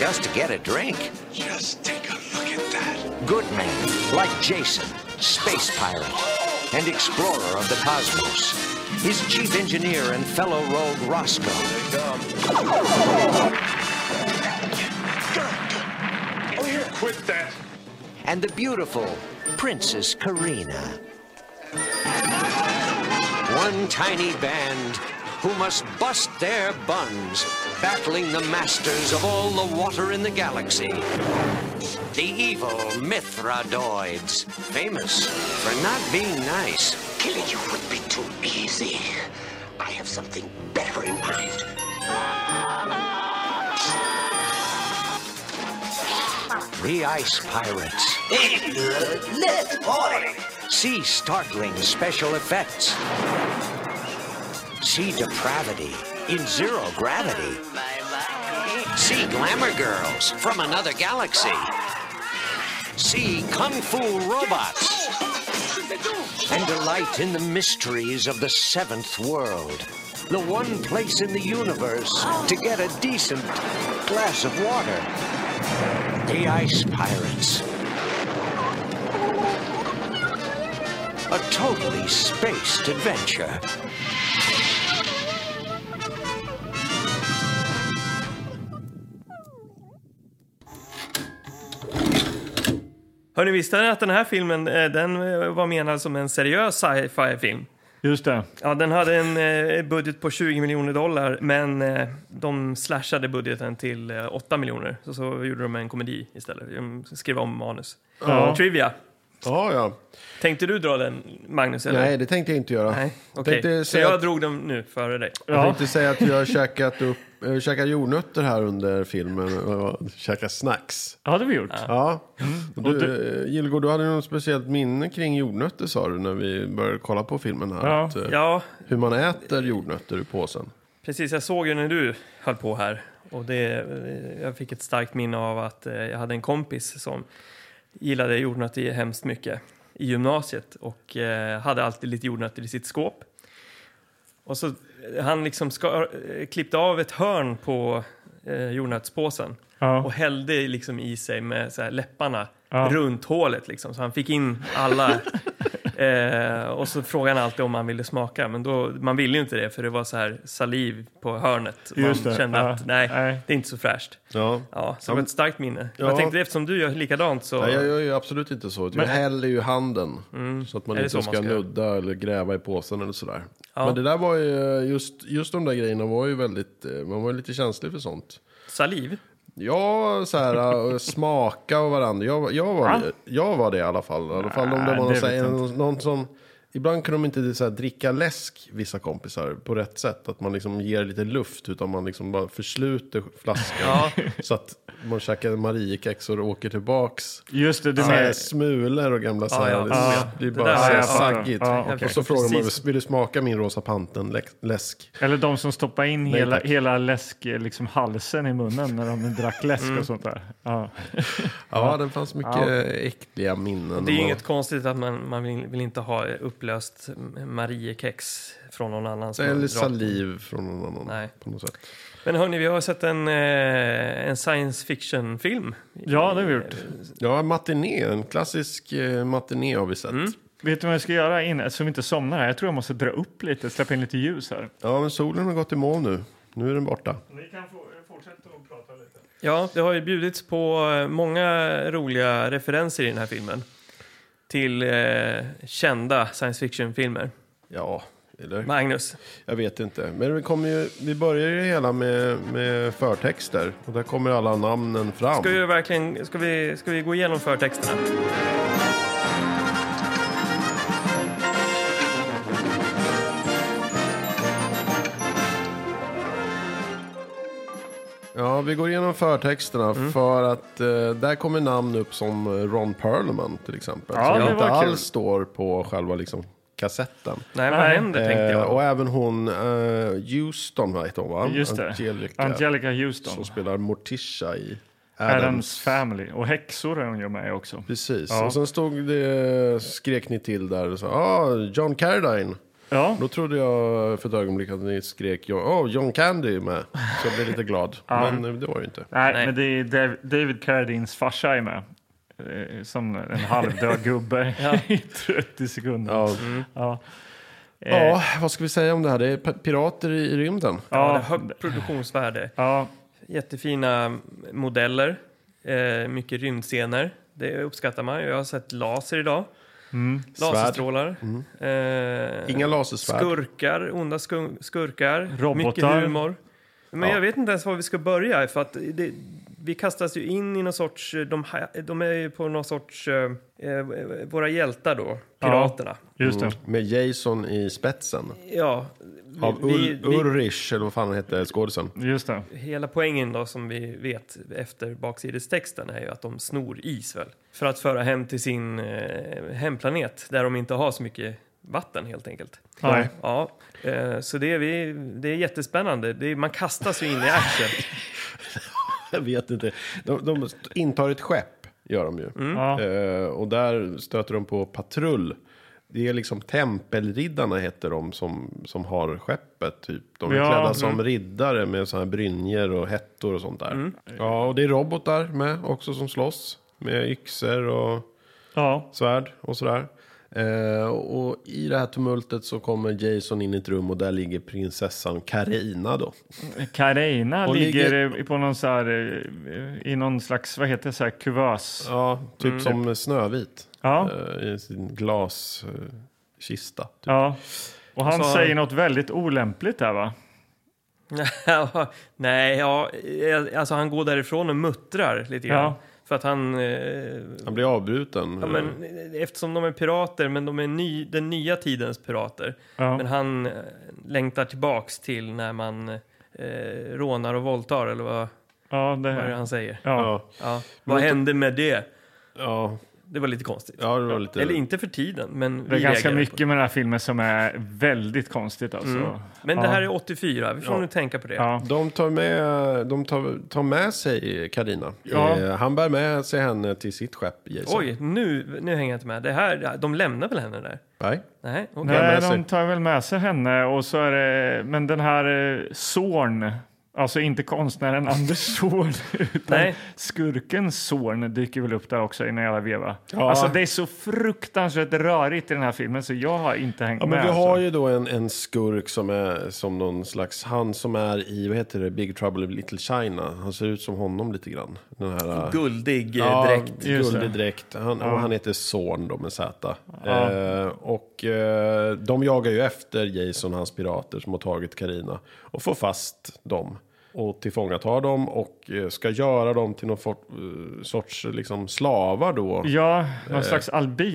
Speaker 4: just to get a drink.
Speaker 5: Just take a look at that.
Speaker 4: Good men like Jason, space pirate and explorer of the cosmos. His chief engineer and fellow rogue Roscoe.
Speaker 5: Oh, here, quit that.
Speaker 4: And the beautiful Princess Karina. One tiny band who must bust their buns, battling the masters of all the water in the galaxy. The evil Mithradoids, famous for not being nice.
Speaker 6: Killing you would be too easy. I have something better in mind.
Speaker 4: The Ice Pirates. See startling special effects. See depravity in zero gravity. See glamour girls from another galaxy. See kung fu robots. And delight in the mysteries of the seventh world. The one place in the universe to get a decent glass of water. The Ice Pirates. A totally spaced adventure.
Speaker 1: Hörni, visste ni att den här filmen eh, den eh, var menad som en seriös sci-fi-film?
Speaker 2: Just det.
Speaker 1: Ja, den hade en eh, budget på 20 miljoner dollar, men eh, de slashade budgeten till eh, 8 miljoner. Så, så gjorde de en komedi istället. De skrev om manus. Trivia.
Speaker 3: Ja, ja.
Speaker 1: Tänkte du dra den, Magnus? Eller?
Speaker 3: Nej, det tänkte jag inte göra.
Speaker 1: Nej,
Speaker 3: Jag
Speaker 1: okej.
Speaker 3: tänkte
Speaker 1: Så
Speaker 3: säga
Speaker 1: jag
Speaker 3: att-
Speaker 1: drog den nu före dig.
Speaker 3: Jag tänkte säga att jag har käkat, upp, jag har käkat jordnötter här under filmen och käkat snacks.
Speaker 2: Det hade vi gjort.
Speaker 3: Ja.
Speaker 1: Mm.
Speaker 3: Och Du, eh, Gillgård, du hade något speciellt minne kring jordnötter sa du när vi började kolla på filmen här.
Speaker 2: Ja.
Speaker 3: Att, eh,
Speaker 1: Ja,
Speaker 3: Hur man äter jordnötter ur påsen.
Speaker 1: precis. Jag såg ju när du höll på här. Och det, eh, jag fick ett starkt minne av att eh, jag hade en kompis som gillade jordnötter hemskt mycket i gymnasiet och eh, hade alltid lite jordnötter i sitt skåp. Och så eh, han liksom skar, eh, klippte av ett hörn på eh, jordnötspåsen
Speaker 2: Ja.
Speaker 1: och hällde liksom i sig med så här läpparna
Speaker 2: Ja.
Speaker 1: runt hålet liksom. Så han fick in alla. eh, och så frågade han alltid om han ville smaka, men då, man ville ju inte det för det var så här saliv på hörnet. Man
Speaker 2: Just det.
Speaker 1: kände
Speaker 2: Ja.
Speaker 1: att nej,
Speaker 2: Nej.
Speaker 1: det är inte så fräscht.
Speaker 3: Ja.
Speaker 1: Ja, så det var ett starkt minne.
Speaker 3: Ja.
Speaker 1: Jag tänkte eftersom du gör likadant så...
Speaker 3: Nej, jag gör ju absolut inte så. Jag häller ju handen. Så att man
Speaker 1: Mm. Är det
Speaker 3: inte
Speaker 1: så man
Speaker 3: ska,
Speaker 1: ska göra?
Speaker 3: nudda eller gräva i påsen eller sådär.
Speaker 1: Ja.
Speaker 3: Men det där var ju, just, just de där grejerna var ju väldigt, eh, man var ju lite känslig för sånt.
Speaker 1: Saliv?
Speaker 3: Ja, så här, äh, smaka och varandra. Jag, jag, var, det, jag var det i alla fall. I alla fall om det
Speaker 2: Nej,
Speaker 3: var någon,
Speaker 2: det
Speaker 3: så här,
Speaker 2: vet jag
Speaker 3: någon, någon som... Ibland kunde de inte så här, dricka läsk, vissa kompisar, på rätt sätt. Att man liksom ger lite luft, utan man liksom bara försluter flaskan.
Speaker 1: Ja.
Speaker 3: Så att man käkar Mariekex och åker tillbaks.
Speaker 2: Just det, du
Speaker 3: Så här,
Speaker 2: menar...
Speaker 3: smulor och gamla så
Speaker 1: Ja,
Speaker 3: här,
Speaker 1: ja.
Speaker 3: det,
Speaker 1: Ja.
Speaker 3: det
Speaker 1: Det
Speaker 3: är bara
Speaker 1: där
Speaker 3: så här,
Speaker 1: har jag
Speaker 2: fattat.
Speaker 3: saggigt.
Speaker 2: Ja, okej.
Speaker 3: Och så frågar
Speaker 1: Precis.
Speaker 3: man, vill du smaka min Rosa Panten-läsk?
Speaker 2: Eller de som stoppar in
Speaker 3: Nej,
Speaker 2: hela,
Speaker 3: tack.
Speaker 2: hela läsk, liksom halsen i munnen när de drack läsk och sånt där. Ja.
Speaker 3: Ja, den fanns mycket
Speaker 2: Ja.
Speaker 3: äckliga minnen.
Speaker 1: Det är ju
Speaker 3: Och-
Speaker 1: inget konstigt att man, man vill, vill inte ha upplöst Mariekex från någon annans mun
Speaker 3: Eller
Speaker 1: rakt-
Speaker 3: saliv från någon annan.
Speaker 1: Nej.
Speaker 3: På något sätt.
Speaker 1: Men hörni, vi har sett en, eh, en science fiction-film.
Speaker 2: ja, det har vi gjort.
Speaker 3: Ja, matiné. En klassisk eh, matiné har vi sett.
Speaker 2: Vet du vad jag ska göra innan, så vi inte somnar här? Jag tror jag måste dra upp lite, släppa in lite ljus här.
Speaker 3: Ja, men solen har gått i moln nu. Nu är den borta.
Speaker 2: Ni kan fortsätta att prata lite.
Speaker 1: Ja, det har ju bjudits på eh, många roliga referenser i den här filmen. Till eh, kända science fiction-filmer.
Speaker 3: Ja, eller?
Speaker 1: Magnus,
Speaker 3: Jag vet inte. Men vi, kommer ju, vi börjar ju det hela med, med förtexter. Och där kommer alla namnen fram.
Speaker 1: ska vi, verkligen, ska vi, ska vi gå igenom förtexterna?
Speaker 3: Ja, vi går igenom förtexterna
Speaker 2: Mm.
Speaker 3: för att eh, där kommer namn upp som Ron Perlman till exempel.
Speaker 2: Ja,
Speaker 3: som
Speaker 2: det
Speaker 3: inte
Speaker 2: var kul.
Speaker 3: alls står på själva liksom, kassetten.
Speaker 1: Nej, vad
Speaker 2: Nej.
Speaker 1: händer tänkte
Speaker 3: Eh,
Speaker 1: jag.
Speaker 3: och även hon, eh, Houston vad heter hon va?
Speaker 2: Just det. Angelica, Houston.
Speaker 3: Som spelar Morticia i Adams.
Speaker 2: Adams. Family. Och häxor är hon ju med också.
Speaker 3: Precis.
Speaker 2: Ja.
Speaker 3: Och sen stod det, skrek ni till där och sa ah, John Carradine.
Speaker 2: Ja,
Speaker 3: Då trodde jag för ett ögonblick att ni skrek "Ja, oh, John Candy är med. Så jag blev lite glad. Men eh, det var det ju inte.
Speaker 2: nej,
Speaker 1: Nej.
Speaker 2: men det är Dav- David Carradines farsa är med. Eh, Som en halvdöd gubbe i 30 sekunder.
Speaker 3: Ja.
Speaker 2: Ja. Eh,
Speaker 3: ja, vad ska vi säga om det här? Det är pa- pirater i i rymden.
Speaker 1: Ja, det
Speaker 2: ja,
Speaker 1: är högt produktionsvärde.
Speaker 2: ja,
Speaker 1: Jättefina mm, modeller. Eh, mycket rymdscener. Det uppskattar man. ju. Jag har sett laser idag. Mm. Laserstrålar. Eh,
Speaker 3: Inga lasersvärd.
Speaker 1: Skurkar, onda skum- skurkar.
Speaker 2: Robotar.
Speaker 1: Mycket humor. Men
Speaker 3: Ja.
Speaker 1: jag vet inte ens var vi ska börja. För att det, vi kastas ju in i någon sorts... eh, De, ha- de är ju på någon sorts... Eh, eh, våra hjältar då, piraterna.
Speaker 2: just det.
Speaker 3: Med Jason i spetsen.
Speaker 1: Ja. vi-
Speaker 3: Av
Speaker 1: vi-
Speaker 3: Ul-
Speaker 1: vi-
Speaker 3: Ulrich, eller vad fan han hette, skådisen.
Speaker 2: Just det.
Speaker 1: Hela poängen då som vi vet efter baksidestexten är ju att de snor is väl? För att föra hem till sin eh, hemplanet där de inte har så mycket vatten helt enkelt.
Speaker 2: Nej.
Speaker 1: Ja, eh, så det är, vi, det är jättespännande. Det är, man kastas ju in i action.
Speaker 3: Jag vet inte. De, de intar ett skepp, gör de ju.
Speaker 2: Ja.
Speaker 3: Eh, och där stöter de på patrull. Det är liksom tempelriddarna heter de som, som har skeppet. Typ. De är
Speaker 2: Ja,
Speaker 3: klädda
Speaker 2: mm. Mm.
Speaker 3: som riddare med sådana här brynjor och hettor och sånt där. Ja, och det är robotar med också som slåss. Med yxor och
Speaker 2: Ja.
Speaker 3: svärd och sådär. Eh, och i det här tumultet så kommer Jason in i ett rum och där ligger prinsessan Karina då.
Speaker 2: Carina
Speaker 3: Hon
Speaker 2: ligger,
Speaker 3: ligger-
Speaker 2: eh, på någon så här, eh, i någon slags, vad heter det, så här, kuvös.
Speaker 3: Ja, typ som Snövit.
Speaker 2: Ja.
Speaker 3: Eh, I sin glaskista. Eh, kista, typ.
Speaker 2: Ja. Och han
Speaker 1: Och så-
Speaker 2: säger något väldigt olämpligt där va?
Speaker 1: Nej, ja, eh, alltså han går därifrån och muttrar lite grann.
Speaker 2: Ja.
Speaker 1: För att han... Eh,
Speaker 3: Han blir avbruten.
Speaker 1: ja, men, eh, eftersom de är pirater, men de är ny, den nya tidens pirater.
Speaker 2: Ja.
Speaker 1: Men han eh, längtar tillbaks till när man eh, rånar och våldtar, eller vad,
Speaker 2: Ja, det
Speaker 1: vad är det
Speaker 2: här.
Speaker 1: han säger.
Speaker 2: Ja.
Speaker 3: ja,
Speaker 1: Ja. Vad hände med det?
Speaker 3: ja,
Speaker 1: Det var lite konstigt.
Speaker 3: ja, det var lite...
Speaker 1: Eller inte för tiden, men
Speaker 2: Det är
Speaker 1: vi
Speaker 2: ganska
Speaker 1: reagerar på Mm.
Speaker 2: mycket med den här filmen som är väldigt konstigt alltså.
Speaker 1: det. Men
Speaker 2: Ja.
Speaker 1: det här är 84, vi får nu tänka på det.
Speaker 2: Ja.
Speaker 3: De tar med, de tar, tar med sig Karina.
Speaker 2: Ja.
Speaker 3: Eh, han bär med sig henne till sitt skepp, Jason.
Speaker 1: Oj, nu, nu hänger jag inte med. Det här, de lämnar väl henne där?
Speaker 3: Nej.
Speaker 1: Nej, okej.
Speaker 3: med
Speaker 2: Nej,
Speaker 3: sig.
Speaker 2: de tar väl med sig henne och så är det, men den här eh, Zorn, alltså inte konstnären Anders Zorn, utan
Speaker 1: Nej.
Speaker 2: skurken Zorn dyker väl upp där också i en jävla veva. Alltså det är så fruktansvärt rörigt i den här filmen så jag har inte hängt
Speaker 3: Ja,
Speaker 2: med.
Speaker 3: men vi har
Speaker 2: alltså.
Speaker 3: ju då en, en skurk som är som någon slags, han som är i, vad heter det, Big Trouble in Little China. Han ser ut som honom lite grann. Den här,
Speaker 1: Guldig eh,
Speaker 3: Ja,
Speaker 1: dräkt.
Speaker 2: Just det.
Speaker 3: guldig dräkt. Han, och han heter Zorn då med Z. Eh, och eh, de jagar ju efter Jason och hans pirater som har tagit Karina och får fast dem. Och tillfångatar dem och eh, ska göra dem till någon for, eh, sorts eh, liksom slavar då.
Speaker 2: Ja, någon
Speaker 3: Eh.
Speaker 2: slags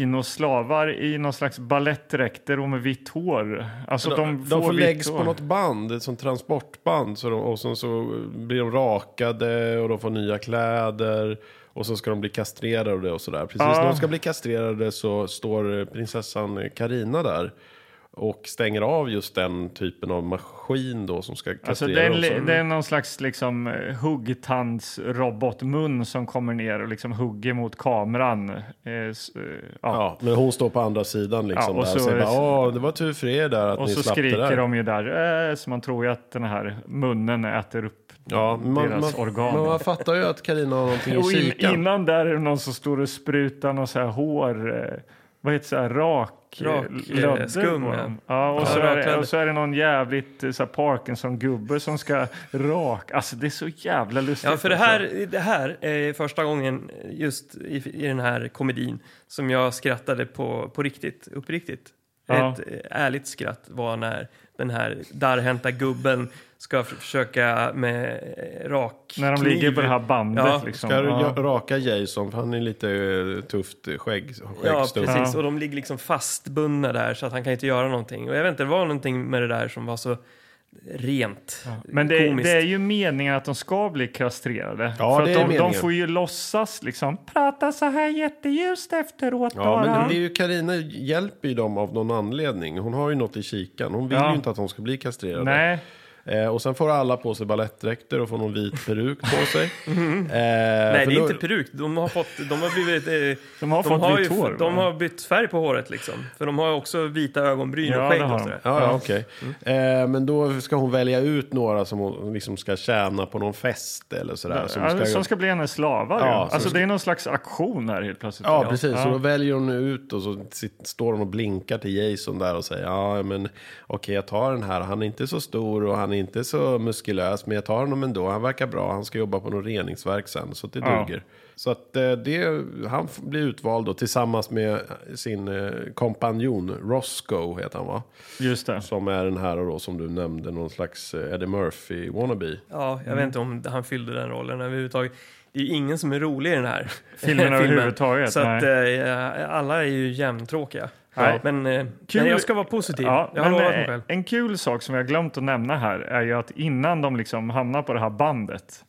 Speaker 2: albinoslavar i någon slags balettdräkter och med vitt hår. Alltså de,
Speaker 3: de får
Speaker 2: vitt
Speaker 3: läggs på
Speaker 2: hår.
Speaker 3: något band, ett sånt transportband. Så de, och sen så blir de rakade och de får nya kläder. Och så ska de bli kastrerade och sådär. Precis
Speaker 2: Ja.
Speaker 3: när de ska bli kastrerade så står eh, prinsessan Karina där. Och stänger av just den typen av maskin då som ska kastrera
Speaker 2: Alltså det är, en,
Speaker 3: dem.
Speaker 2: li- det är någon slags liksom eh, huggtandsrobotmun som kommer ner och liksom hugger mot kameran. Eh, s- eh, ja.
Speaker 3: Ja, men hon står på andra sidan liksom.
Speaker 2: Ja, och
Speaker 3: där
Speaker 2: så
Speaker 3: och säger
Speaker 2: är det-
Speaker 3: bara, Åh, det var tur för er där att
Speaker 2: Och
Speaker 3: ni
Speaker 2: så
Speaker 3: slapp det där.
Speaker 2: skriker de ju där, eh, så man tror ju att den här munnen äter upp
Speaker 3: Ja, man,
Speaker 2: deras
Speaker 3: man,
Speaker 2: organ.
Speaker 3: Men man fattar ju att Karina har någonting i
Speaker 2: och in,
Speaker 3: kikaren.
Speaker 2: innan där är det någon som står och sprutar någon så här hår, eh, vad heter det, så här, rak, eh,
Speaker 1: Rak, eh,
Speaker 2: lödder
Speaker 1: skum,
Speaker 2: på
Speaker 1: ja.
Speaker 2: dem. Ja, och, så
Speaker 1: Ja,
Speaker 2: är
Speaker 1: rak
Speaker 2: det,
Speaker 1: lödder.
Speaker 2: och så är det någon jävligt eh, så här, Parkinson-gubbe som ska rak. Alltså det är så jävla lustigt.
Speaker 1: Ja, för det
Speaker 2: alltså.
Speaker 1: här, det här är första gången eh, just i, i den här komedin som jag skrattade på, på riktigt, uppriktigt.
Speaker 2: Ja.
Speaker 1: Ett eh, ärligt skratt var när den här darrhänta gubben ska f- försöka med eh, rak
Speaker 2: När de
Speaker 1: kniv.
Speaker 2: ligger på det här bandet.
Speaker 1: Ja.
Speaker 2: liksom.
Speaker 3: Ska du
Speaker 2: Ja.
Speaker 3: gö- raka Jason för han är lite eh, tufft eh, skägg,
Speaker 1: Ja,
Speaker 3: skäggstubb.
Speaker 1: precis.
Speaker 2: Ja.
Speaker 1: Och de ligger liksom fastbundna där så att han kan inte göra någonting. Och jag vet inte, det var någonting med det där som var så rent
Speaker 2: Men det,
Speaker 1: komiskt.
Speaker 2: det är ju meningen att de ska bli kastrerade.
Speaker 3: Ja,
Speaker 2: för
Speaker 3: det
Speaker 2: att
Speaker 3: är
Speaker 2: de, de
Speaker 3: meningen.
Speaker 2: får ju låtsas liksom prata så här jätteljust efteråt
Speaker 3: Ja,
Speaker 2: bara.
Speaker 3: men det är ju Carina hjälper ju dem av någon anledning. Hon har ju något i kikan. Hon vill
Speaker 2: Ja.
Speaker 3: ju inte att de ska bli kastrerade.
Speaker 2: Nej,
Speaker 3: Eh, och sen får alla på sig balettdräkter och får någon vit peruk på sig. Eh,
Speaker 1: Mhm. Nej, det är
Speaker 3: då-
Speaker 1: inte peruk. De har, fått, de har blivit... eh,
Speaker 2: De har fått vitt
Speaker 1: ju-
Speaker 2: hår,
Speaker 1: De
Speaker 2: va?
Speaker 1: har bytt färg på håret liksom. För de har ju också vita ögonbryn
Speaker 2: Ja,
Speaker 1: och skägg
Speaker 2: det har
Speaker 1: och
Speaker 2: de.
Speaker 1: sådär.
Speaker 3: Ja, ja okej.
Speaker 1: Mm.
Speaker 3: Eh, men då ska hon välja ut några som hon liksom ska tjäna på någon fest eller sådär. Som
Speaker 2: alltså, som ska bli hennes slavar.
Speaker 3: Ja,
Speaker 2: ju.
Speaker 3: som
Speaker 2: alltså
Speaker 3: ska-
Speaker 2: det är någon slags aktion här helt plötsligt.
Speaker 3: Ja, precis. Så då väljer hon ut och så sit- står hon och blinkar till Jason där och säger ja, men okej, jag tar den här. Han är inte så stor och han är inte så muskulös, men jag tar honom ändå. Han verkar bra. Han ska jobba på något reningsverk sen, så det
Speaker 2: Ja.
Speaker 3: duger. Så att eh, det, han f- blir utvald då tillsammans med sin eh, kompanjon Roscoe heter han va?
Speaker 2: Just det.
Speaker 3: Som är den här då som du nämnde, någon slags eh, Eddie Murphy wannabe.
Speaker 1: Ja, jag
Speaker 2: Mm.
Speaker 1: vet inte om han fyllde den rollen överhuvudtaget. Det är ju ingen som är rolig i den här
Speaker 2: Filmen överhuvudtaget,
Speaker 1: Så att, eh, alla är ju jämntråkiga.
Speaker 2: Nej.
Speaker 1: Men, eh,
Speaker 2: Kul-
Speaker 1: men jag ska vara positiv.
Speaker 2: Ja,
Speaker 1: jag har
Speaker 2: men,
Speaker 1: lovat
Speaker 2: eh,
Speaker 1: mig själv.
Speaker 2: en kul sak som jag glömt att nämna här är ju att innan de liksom hamnar på det här bandet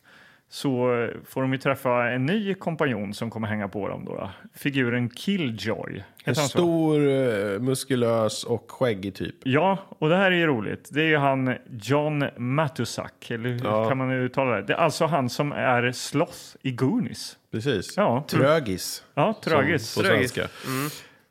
Speaker 2: så eh, får de ju träffa en ny kompanjon som kommer hänga på dem. Då, då. Figuren Killjoy. Heter han
Speaker 3: En
Speaker 2: så?
Speaker 3: stor, eh, muskulös och skäggig typ.
Speaker 2: Ja, och det här är ju roligt. Det är ju han John Matusak, eller hur kan man uttala det? Det är alltså han som är Sloth i Goonies.
Speaker 3: Precis.
Speaker 2: Ja.
Speaker 3: Trögis.
Speaker 2: Ja, tragiskt.
Speaker 3: På
Speaker 1: Trögis.
Speaker 3: svenska.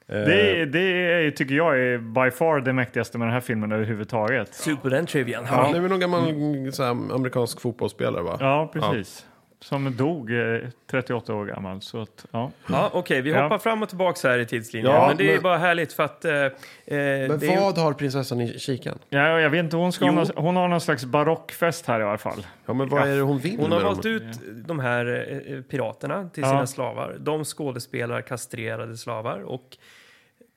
Speaker 2: Det, det är, tycker jag är by far det mäktigaste med den här filmen överhuvudtaget.
Speaker 1: Slut på den trivian.
Speaker 3: Han är väl någon gammal mm, så här, amerikansk fotbollsspelare va?
Speaker 2: Ja, precis. som dog eh, 38 år gammal. Så att, ja.
Speaker 1: Ja, Okej, vi
Speaker 2: Ja.
Speaker 1: hoppar fram och tillbaka här i tidslinjen.
Speaker 3: Ja,
Speaker 1: men det är
Speaker 3: men-
Speaker 1: bara härligt för att... Eh, eh,
Speaker 3: Men
Speaker 1: det är-
Speaker 3: vad har prinsessan i kikan?
Speaker 2: Ja, jag vet inte, hon, ska ha
Speaker 1: Jo.
Speaker 2: någon, hon har någon slags barockfest här i alla fall.
Speaker 3: Ja, men vad är det hon vill
Speaker 1: Hon har
Speaker 3: med
Speaker 1: valt
Speaker 3: dem?
Speaker 1: ut de här eh, eh, piraterna till
Speaker 2: Ja.
Speaker 1: sina slavar. De skådespelar kastrerade slavar. Och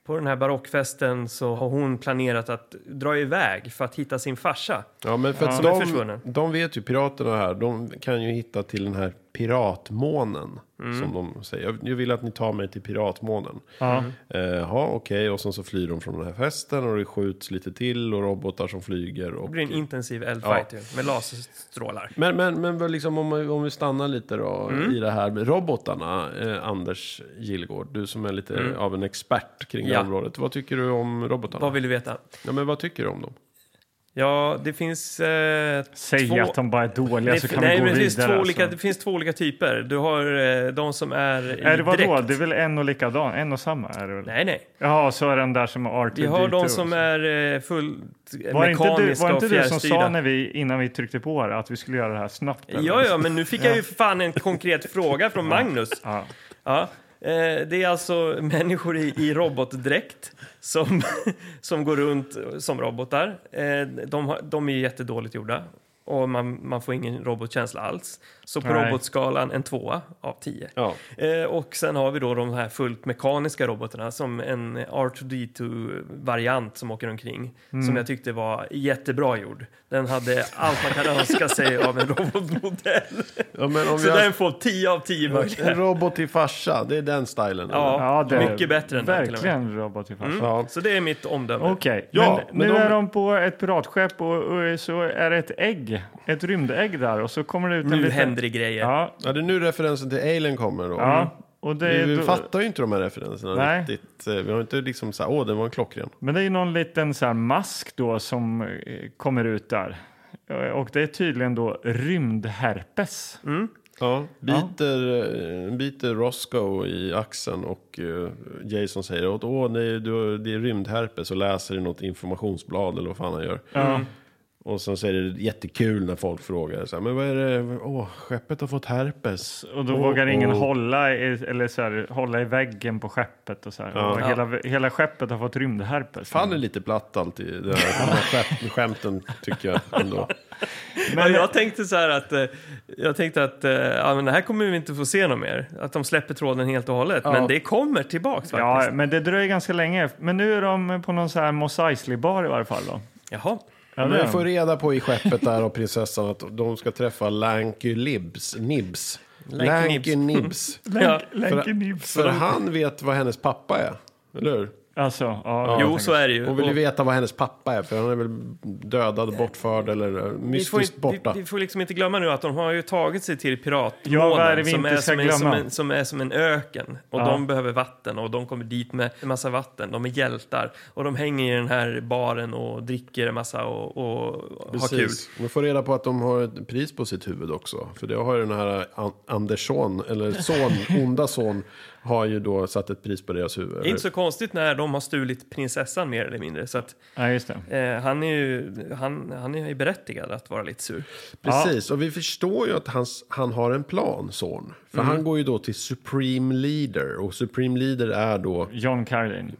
Speaker 1: på den här barockfesten så har hon planerat att dra iväg för att hitta sin farsa.
Speaker 3: Ja, men för att
Speaker 1: Som är
Speaker 3: de,
Speaker 1: försvunnen.
Speaker 3: de vet ju, piraterna här, de kan ju hitta till den här piratmånen.
Speaker 1: Mm.
Speaker 3: Som de säger. Jag- Jag vill att ni tar mig till piratmånen.
Speaker 2: Ja.
Speaker 3: Eh, Ja, okej. Och sen så flyr de från den här festen och det skjuts lite till och robotar som flyger. Och...
Speaker 1: Det blir en intensiv eldfight ju, med laserstrålar.
Speaker 3: Men, men, men vad liksom, om, vi- om vi stannar lite då
Speaker 2: Mm.
Speaker 3: i det här med robotarna, eh, Anders Gillgård. Du som är lite
Speaker 2: Mm.
Speaker 3: av en expert kring det
Speaker 1: Ja.
Speaker 3: här området. Vad tycker du om robotarna?
Speaker 1: Vad vill du veta?
Speaker 3: Ja, men vad tycker du om dem?
Speaker 1: Ja, det finns... Eh,
Speaker 2: Säg
Speaker 1: två...
Speaker 2: att de bara är dåliga
Speaker 1: Det-
Speaker 2: så kan
Speaker 1: nej,
Speaker 2: vi gå
Speaker 1: men det finns,
Speaker 2: vidare.
Speaker 1: två olika,
Speaker 2: alltså.
Speaker 1: det finns två olika typer. Du har eh, de som är i
Speaker 2: Är det vadå?
Speaker 1: dräkt.
Speaker 2: Det är väl en och likadan? En och samma är det väl?
Speaker 1: Nej, nej.
Speaker 2: Ja, så är den där som är R2D2.
Speaker 1: Vi har de som är eh, fullt eh,
Speaker 2: var det inte du,
Speaker 1: mekaniska
Speaker 2: var det
Speaker 1: och
Speaker 2: inte du som sa
Speaker 1: fjärrstyrda.
Speaker 2: när vi, innan vi tryckte på här att vi skulle göra det här snabbt? eller?
Speaker 1: Ja, ja, men nu fick jag ju för fan en konkret fråga från Magnus.
Speaker 2: Ja.
Speaker 1: Ja. Eh, Det är alltså människor i, i robotdräkt som, som går runt som robotar. Eh, De, har- de är ju jättedåligt gjorda och man, man får ingen robotkänsla alls. Så på
Speaker 2: Nej.
Speaker 1: robotskalan en tvåa av tio.
Speaker 3: Ja.
Speaker 1: Eh, Och sen har vi då de här fullt mekaniska robotarna som en R2D2-variant som åker omkring.
Speaker 3: Mm.
Speaker 1: Som jag tyckte var jättebra gjord. Den hade allt man kan önska sig av en robotmodell.
Speaker 3: Ja, men om
Speaker 1: Så
Speaker 3: vi har-
Speaker 1: den får 10 av 10 möjliga.
Speaker 3: En robot till farsa, det är den stylen. eller?
Speaker 1: Ja,
Speaker 2: Ja, det är
Speaker 1: mycket bättre än den till och med. Mm.
Speaker 2: Verkligen robot i farsan.
Speaker 3: Ja.
Speaker 1: Så det är mitt omdöme.
Speaker 2: Okej,
Speaker 3: Ja,
Speaker 2: men,
Speaker 3: men
Speaker 2: nu
Speaker 3: de-
Speaker 2: är de på ett piratskepp och, och så är det ett ägg, ett rymdägg där och så kommer det ut en
Speaker 1: nu
Speaker 2: liten...
Speaker 1: händer det grejer.
Speaker 2: Ja,
Speaker 3: ja, det är nu referensen till Alien kommer då.
Speaker 2: ja.
Speaker 1: Mm.
Speaker 2: Och det, är
Speaker 3: Vi
Speaker 2: då-
Speaker 3: fattar ju inte de här referenserna
Speaker 2: Nej.
Speaker 3: riktigt. Eh, Vi har inte liksom så här, åh, den var en klockren.
Speaker 2: Men det är ju någon liten så här mask då som eh, kommer ut där. Eh, Och det är tydligen då rymdherpes.
Speaker 3: Ja. Biter, eh, biter Roscoe i axeln och eh, Jason säger åt, åh, nej, du, det är rymdherpes och läser i något informationsblad eller vad fan han gör. Och sen så är det jättekul när folk frågar så här, men vad är det, åh, skeppet har fått herpes.
Speaker 2: Och då
Speaker 3: Åh,
Speaker 2: vågar ingen
Speaker 3: åh.
Speaker 2: hålla, i, eller så här, hålla i väggen på skeppet. Och så här. Och
Speaker 1: Ja.
Speaker 2: hela, hela skeppet har fått rymdherpes.
Speaker 3: Fan det är lite platt alltid, det här, de här skämt, skämten tycker jag ändå.
Speaker 1: Men jag tänkte så här att, eh, jag tänkte att eh, ja, men det här kommer vi inte få se något mer. Att de släpper tråden helt och hållet. Men det kommer tillbaks
Speaker 2: Ja,
Speaker 1: faktiskt.
Speaker 2: men det dröjer ganska länge. Men nu är de på någon så här Mos Eisley-bar i varje fall. Då.
Speaker 1: Jaha.
Speaker 2: Ja, det
Speaker 3: Men
Speaker 2: är
Speaker 3: jag
Speaker 2: de.
Speaker 3: får reda på i skeppet där och prinsessan att de ska träffa Lanky Libs, Nibs. Lanky Nibs.
Speaker 1: Ja.
Speaker 2: Lanky
Speaker 3: För
Speaker 2: Nibs.
Speaker 3: han vet vad hennes pappa är, eller hur?
Speaker 2: Alltså, ja, jag
Speaker 1: Jo,
Speaker 2: tänker-
Speaker 1: så är det ju.
Speaker 3: Hon vill ju
Speaker 1: Och
Speaker 3: veta vad hennes pappa är, för han är väl dödad, bortförd eller
Speaker 1: vi, får,
Speaker 3: mystiskt
Speaker 1: inte- vi,
Speaker 3: borta.
Speaker 1: vi får liksom inte glömma nu att de har ju tagit sig till
Speaker 2: Ja, vad är det
Speaker 1: piratmånen
Speaker 2: vi
Speaker 1: som,
Speaker 2: inte
Speaker 1: är
Speaker 2: ska
Speaker 1: som, en- som,
Speaker 2: glömma?
Speaker 1: en- som är som en öken. Och
Speaker 2: Ja.
Speaker 1: de behöver vatten och de kommer dit med en massa vatten. De är hjältar och de hänger i den här baren och dricker en massa och, och har kul.
Speaker 3: Precis. Vi får reda på att de har ett pris på sitt huvud också. För det har ju den här eh, An- Andersson, eller son, onda son, har ju då satt ett pris på deras huvud.
Speaker 1: Det är inte så konstigt när de har stulit prinsessan mer eller mindre. Så att,
Speaker 2: Ja, just det.
Speaker 1: eh, han, är ju, han, han är ju berättigad att vara lite sur.
Speaker 3: Precis, och vi förstår ju att hans, han har en plan, son. För han går ju då till Supreme Leader. Och Supreme Leader är då...
Speaker 2: John Carlin.